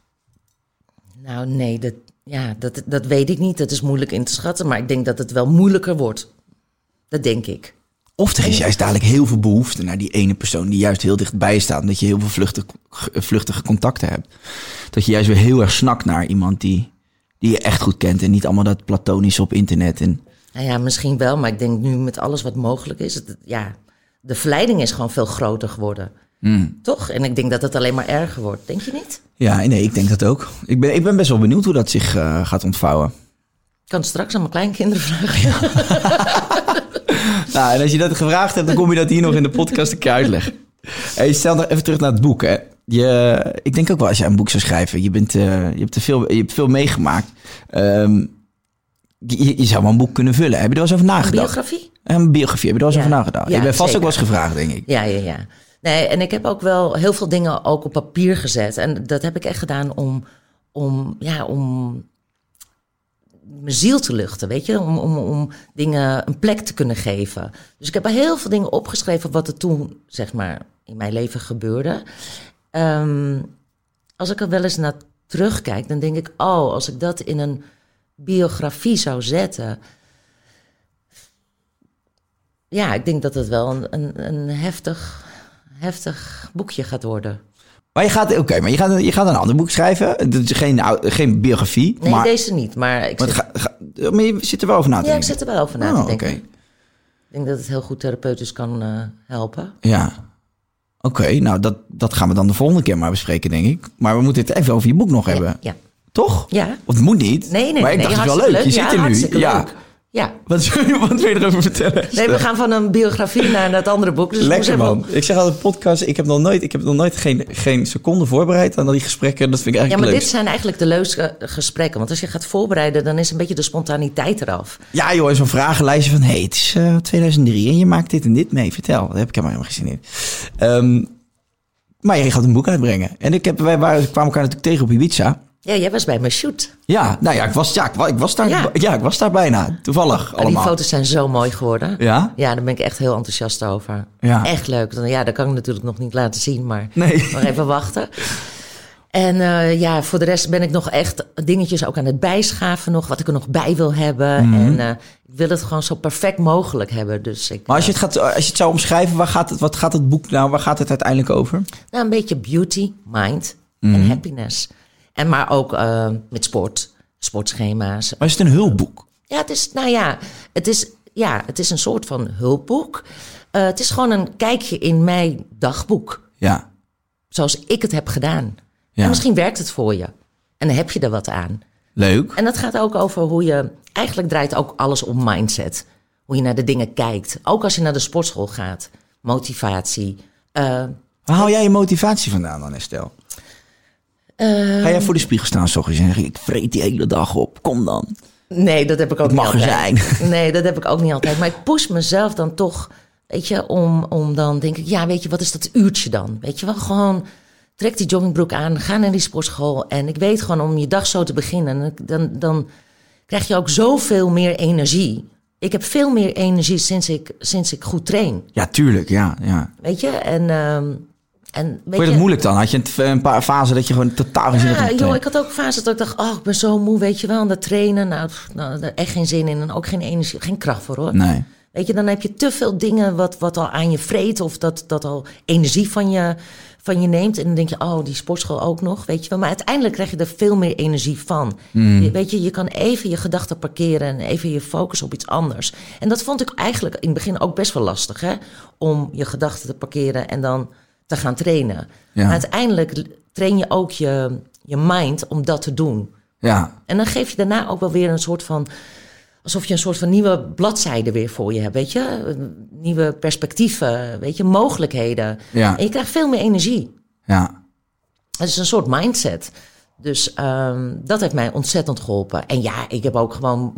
A: Nou, nee, dat, ja, dat, dat weet ik niet. Dat is moeilijk in te schatten. Maar ik denk dat het wel moeilijker wordt. Dat denk ik.
B: Of er is juist dadelijk heel veel behoefte naar die ene persoon die juist heel dichtbij staat. Omdat je heel veel vluchtig, vluchtige contacten hebt. Dat je juist weer heel erg snakt naar iemand die, die je echt goed kent. En niet allemaal dat platonisch op internet. En,
A: Nou ja, misschien wel. Maar ik denk nu met alles wat mogelijk is. Het, ja, de verleiding is gewoon veel groter geworden. Toch? En ik denk dat het alleen maar erger wordt. Denk je niet?
B: Ja, nee, ik denk dat ook. Ik ben, ik ben best wel benieuwd hoe dat zich eh, gaat ontvouwen.
A: Ik kan het straks aan mijn kleinkinderen vragen.
B: Nou, en als je dat gevraagd hebt, dan kom je dat hier nog in de podcast een keer uitleggen. Hey, stel nog even terug naar het boek. Hè. Je, ik denk ook wel als je een boek zou schrijven, je, bent, eh, je, hebt, er veel, je hebt veel meegemaakt. Ehm, je, je zou wel een boek kunnen vullen. Heb je er wel eens over nagedacht?
A: Biografie?
B: Een biografie, heb je er wel eens
A: Ja.
B: over nagedacht?
A: Ja,
B: je bent vast
A: zeker.
B: ook wel eens gevraagd, denk ik.
A: Ja, ja, ja. Nee, en ik heb ook wel heel veel dingen ook op papier gezet. En dat heb ik echt gedaan om, om, ja, om mijn ziel te luchten, weet je? Om, om, om dingen een plek te kunnen geven. Dus ik heb heel veel dingen opgeschreven wat er toen, zeg maar, in mijn leven gebeurde. Ehm, als ik er wel eens naar terugkijk, dan denk ik... oh, als ik dat in een biografie zou zetten... Ja, ik denk dat het wel een, een, een heftig, heftig boekje gaat worden.
B: Maar je gaat, oké, maar je gaat, je gaat een ander boek schrijven. Dat is geen, ou- geen biografie.
A: Nee,
B: maar,
A: deze niet, maar ik
B: maar, het
A: zit,
B: ga- ga- maar je zit er wel over na te
A: ja, ik
B: denken.
A: zit er wel over na te
B: Oh,
A: denken.
B: oké.
A: Ik denk dat het heel goed therapeutisch kan eh, helpen.
B: Ja. Oké, nou dat, dat gaan we dan de volgende keer maar bespreken, denk ik. Maar we moeten het even over je boek nog hebben.
A: Ja.
B: Toch?
A: Ja.
B: Of het moet niet.
A: Nee, nee,
B: Maar ik
A: nee,
B: dacht, het is wel leuk.
A: hartstikke
B: Je
A: Ja,
B: zit er nu.
A: hartstikke
B: Ja.
A: leuk. Ja.
B: Wat, wat wil je erover vertellen?
A: Nee, we gaan van een biografie naar het andere boek. Dus ik moest
B: Lekker
A: even-
B: man. Ik zeg altijd podcast, ik heb nog nooit, ik heb nog nooit geen, geen seconde voorbereid aan die gesprekken. Dat vind
A: Ja,
B: ik eigenlijk
A: maar
B: leuk.
A: dit zijn eigenlijk de leukste gesprekken. Want als je gaat voorbereiden, dan is een beetje de spontaniteit eraf.
B: Ja joh, en zo'n vragenlijstje van, hey, het is eh, 2003 en je maakt dit en dit mee. Vertel, daar heb ik helemaal geen zin in. Ehm, maar je gaat een boek uitbrengen. En ik heb, wij waren, kwamen elkaar natuurlijk tegen op Ibiza.
A: Ja, jij was bij mijn shoot.
B: Ja, nou ja, ik was, ja, ik, wa- ik was, daar, ja.
A: Ja.
B: ik was daar bijna. Toevallig
A: En die
B: allemaal.
A: foto's zijn zo mooi geworden.
B: Ja?
A: Ja, daar ben ik echt heel enthousiast over.
B: Ja.
A: Echt leuk. Dan- Ja, dat kan ik natuurlijk nog niet laten zien, maar
B: Nee.
A: nog even wachten. En eh, ja, voor de rest ben ik nog echt dingetjes ook aan het bijschaven nog. Wat ik er nog bij wil hebben.
B: Mhm.
A: En eh, ik wil het gewoon zo perfect mogelijk hebben. Dus ik,
B: Maar als je, het gaat, als je het zou omschrijven, waar gaat het, wat gaat het boek nou, waar gaat het uiteindelijk over?
A: Nou, een beetje beauty, mind
B: Mhm.
A: en happiness. En maar ook eh, met sport, sportschema's.
B: Maar is het een hulpboek?
A: Ja, het is, nou ja, het is, ja, het is een soort van hulpboek. Eh, het is gewoon een kijkje in mijn dagboek,
B: Ja.
A: zoals ik het heb gedaan.
B: Ja.
A: En misschien werkt het voor je. En dan heb je er wat aan.
B: Leuk.
A: En dat gaat ook over hoe je, eigenlijk draait ook alles om mindset. Hoe je naar de dingen kijkt. Ook als je naar de sportschool gaat. Motivatie. eh,
B: Waar haal jij je motivatie vandaan dan, Estelle?
A: Ehm,
B: Ga jij voor de spiegel staan s ochtends en zeg je, ik vreet die hele dag op, kom dan.
A: Nee, dat heb ik ook
B: Het
A: niet
B: mag er
A: altijd. Nee, dat heb ik ook niet altijd. Maar ik push mezelf dan toch, weet je, om, om dan denk ik, ja, weet je, wat is dat uurtje dan? Weet je wel, gewoon trek die joggingbroek aan, ga naar die sportschool. En ik weet gewoon om je dag zo te beginnen, dan- dan, dan krijg je ook zoveel meer energie. Ik heb veel meer energie sinds ik, sinds ik goed train,
B: Ja, tuurlijk, ja. ja.
A: weet je. En, ehm en, weet
B: Vond je
A: je-
B: dat moeilijk dan? Had je een, t- een paar fasen dat je gewoon totaal geen zin had om
A: ja,
B: te
A: joh,
B: trainen?
A: ik had ook fases dat ik dacht, oh, ik ben zo moe, weet je wel, aan dat trainen. Nou, pff, nou daar echt geen zin in en ook geen energie, geen kracht voor hoor.
B: Nee.
A: Weet je, dan heb je te veel dingen wat, wat al aan je vreet of dat, dat al energie van je, van je neemt. En dan denk je, oh, die sportschool ook nog, weet je wel. Maar uiteindelijk krijg je er veel meer energie van. Je, weet je, je kan even je gedachten parkeren en even je focus op iets anders. En dat vond ik eigenlijk in het begin ook best wel lastig, hè. Om je gedachten te parkeren en dan te gaan trainen.
B: Ja.
A: Maar uiteindelijk l- train je ook je, je mind om dat te doen.
B: Ja.
A: En dan geef je daarna ook wel weer een soort van. Alsof je een soort van nieuwe bladzijde weer voor je hebt, weet je? Nieuwe perspectieven, weet je, mogelijkheden.
B: Ja.
A: En je krijgt veel meer energie.
B: Ja.
A: Het is een soort mindset. Dus ehm, dat heeft mij ontzettend geholpen. En ja, ik heb ook gewoon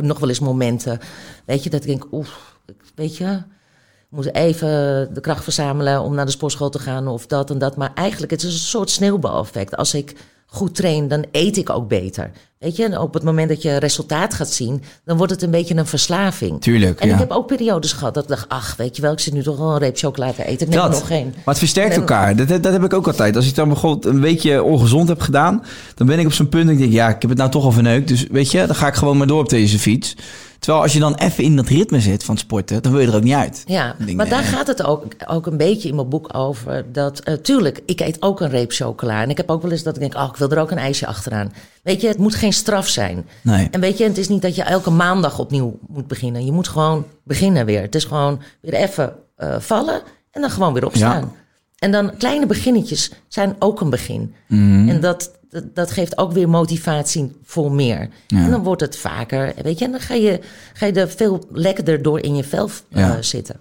A: nog wel eens momenten, weet je, dat ik denk, oef, ik- weet je, ik moet even de kracht verzamelen om naar de sportschool te gaan of dat en dat. Maar eigenlijk, het is een soort sneeuwbaleffect. Als ik goed train, dan eet ik ook beter. Weet je, en op het moment dat je resultaat gaat zien, dan wordt het een beetje een verslaving.
B: Tuurlijk,
A: En
B: ja.
A: ik heb ook periodes gehad dat ik dacht, ach, weet je wel, ik zit nu toch wel een reep chocolade te eten. Neem er nog geen.
B: Maar het versterkt
A: Nee.
B: elkaar. Dat, dat heb ik ook altijd. Als ik dan bijvoorbeeld een weekje ongezond heb gedaan, dan ben ik op zo'n punt dat ik denk, ja, ik heb het nou toch al verneukt. Dus weet je, dan ga ik gewoon maar door op deze fiets. Terwijl als je dan even in dat ritme zit van sporten, dan wil je er ook niet uit.
A: Ja,
B: Dan denk ik,
A: maar daar
B: nee.
A: gaat het ook, ook een beetje in mijn boek over. Dat, eh, tuurlijk, ik eet ook een reep chocola. En ik heb ook wel eens dat ik denk, oh, ik wil er ook een ijsje achteraan. Weet je, het moet geen straf zijn.
B: Nee.
A: En weet je, het is niet dat je elke maandag opnieuw moet beginnen. Je moet gewoon beginnen weer. Het is gewoon weer even eh, vallen en dan gewoon weer opstaan. En dan kleine beginnetjes zijn ook een begin.
B: Mhm.
A: En dat, dat, dat geeft ook weer motivatie voor meer. En dan wordt het vaker, weet je. En dan ga je, ga je er veel lekkerder door in je vel eh,
B: Ja.
A: zitten.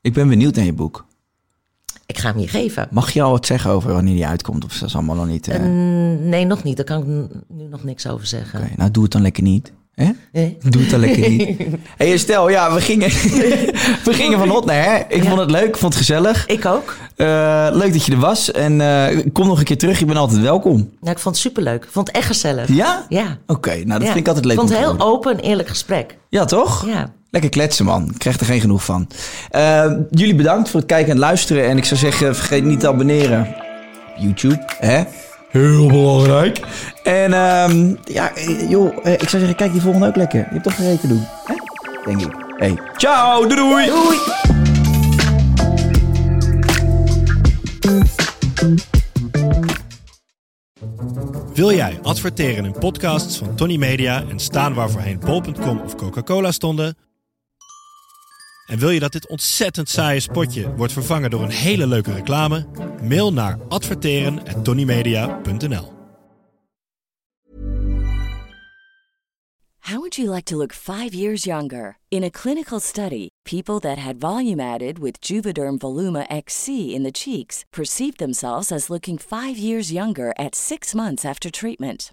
B: Ik ben benieuwd naar je boek.
A: Ik ga hem je geven.
B: Mag je al wat zeggen over wanneer die uitkomt? Of is dat allemaal nog niet... eh,
A: Nee, nog niet. Daar kan ik n- nu nog niks over zeggen.
B: Oké, nou doe het dan lekker niet. Hè?
A: Nee.
B: Doe het dan lekker niet. hey, stel, ja, we gingen, we gingen van hot naar her. Ik vond het leuk, ik vond het gezellig.
A: Ik ook.
B: Eh, leuk dat je er was. En eh, kom nog een keer terug, je bent altijd welkom.
A: Nou, ik vond het superleuk. Ik vond het echt gezellig.
B: Ja?
A: Ja.
B: Oké, nou dat
A: Ja.
B: vind ik altijd leuk
A: vond
B: om
A: het
B: te
A: heel
B: horen.
A: open en eerlijk gesprek.
B: Ja, toch?
A: Ja.
B: Lekker kletsen, man. Ik krijg er geen genoeg van. Eh, jullie bedankt voor het kijken en luisteren. En ik zou zeggen, vergeet niet te abonneren. YouTube, hè? Heel belangrijk. En ehm, ja, eh, joh, eh, ik zou zeggen, kijk die volgende ook lekker. Je hebt toch gereden te doen, hè? Denk ik. Hey, ciao, doei! Doei!
E: Wil jij adverteren in podcasts van Tony Media en staan waar voorheen bol.com of Coca-Cola stonden? En wil je dat dit ontzettend saaie spotje wordt vervangen door een hele leuke reclame? Mail naar adverteren@tonymedia.nl.
F: How would you like to look five years younger? In a clinical study, people that had volume added with Juvederm Voluma XC in the cheeks perceived themselves as looking five years younger at six months after treatment.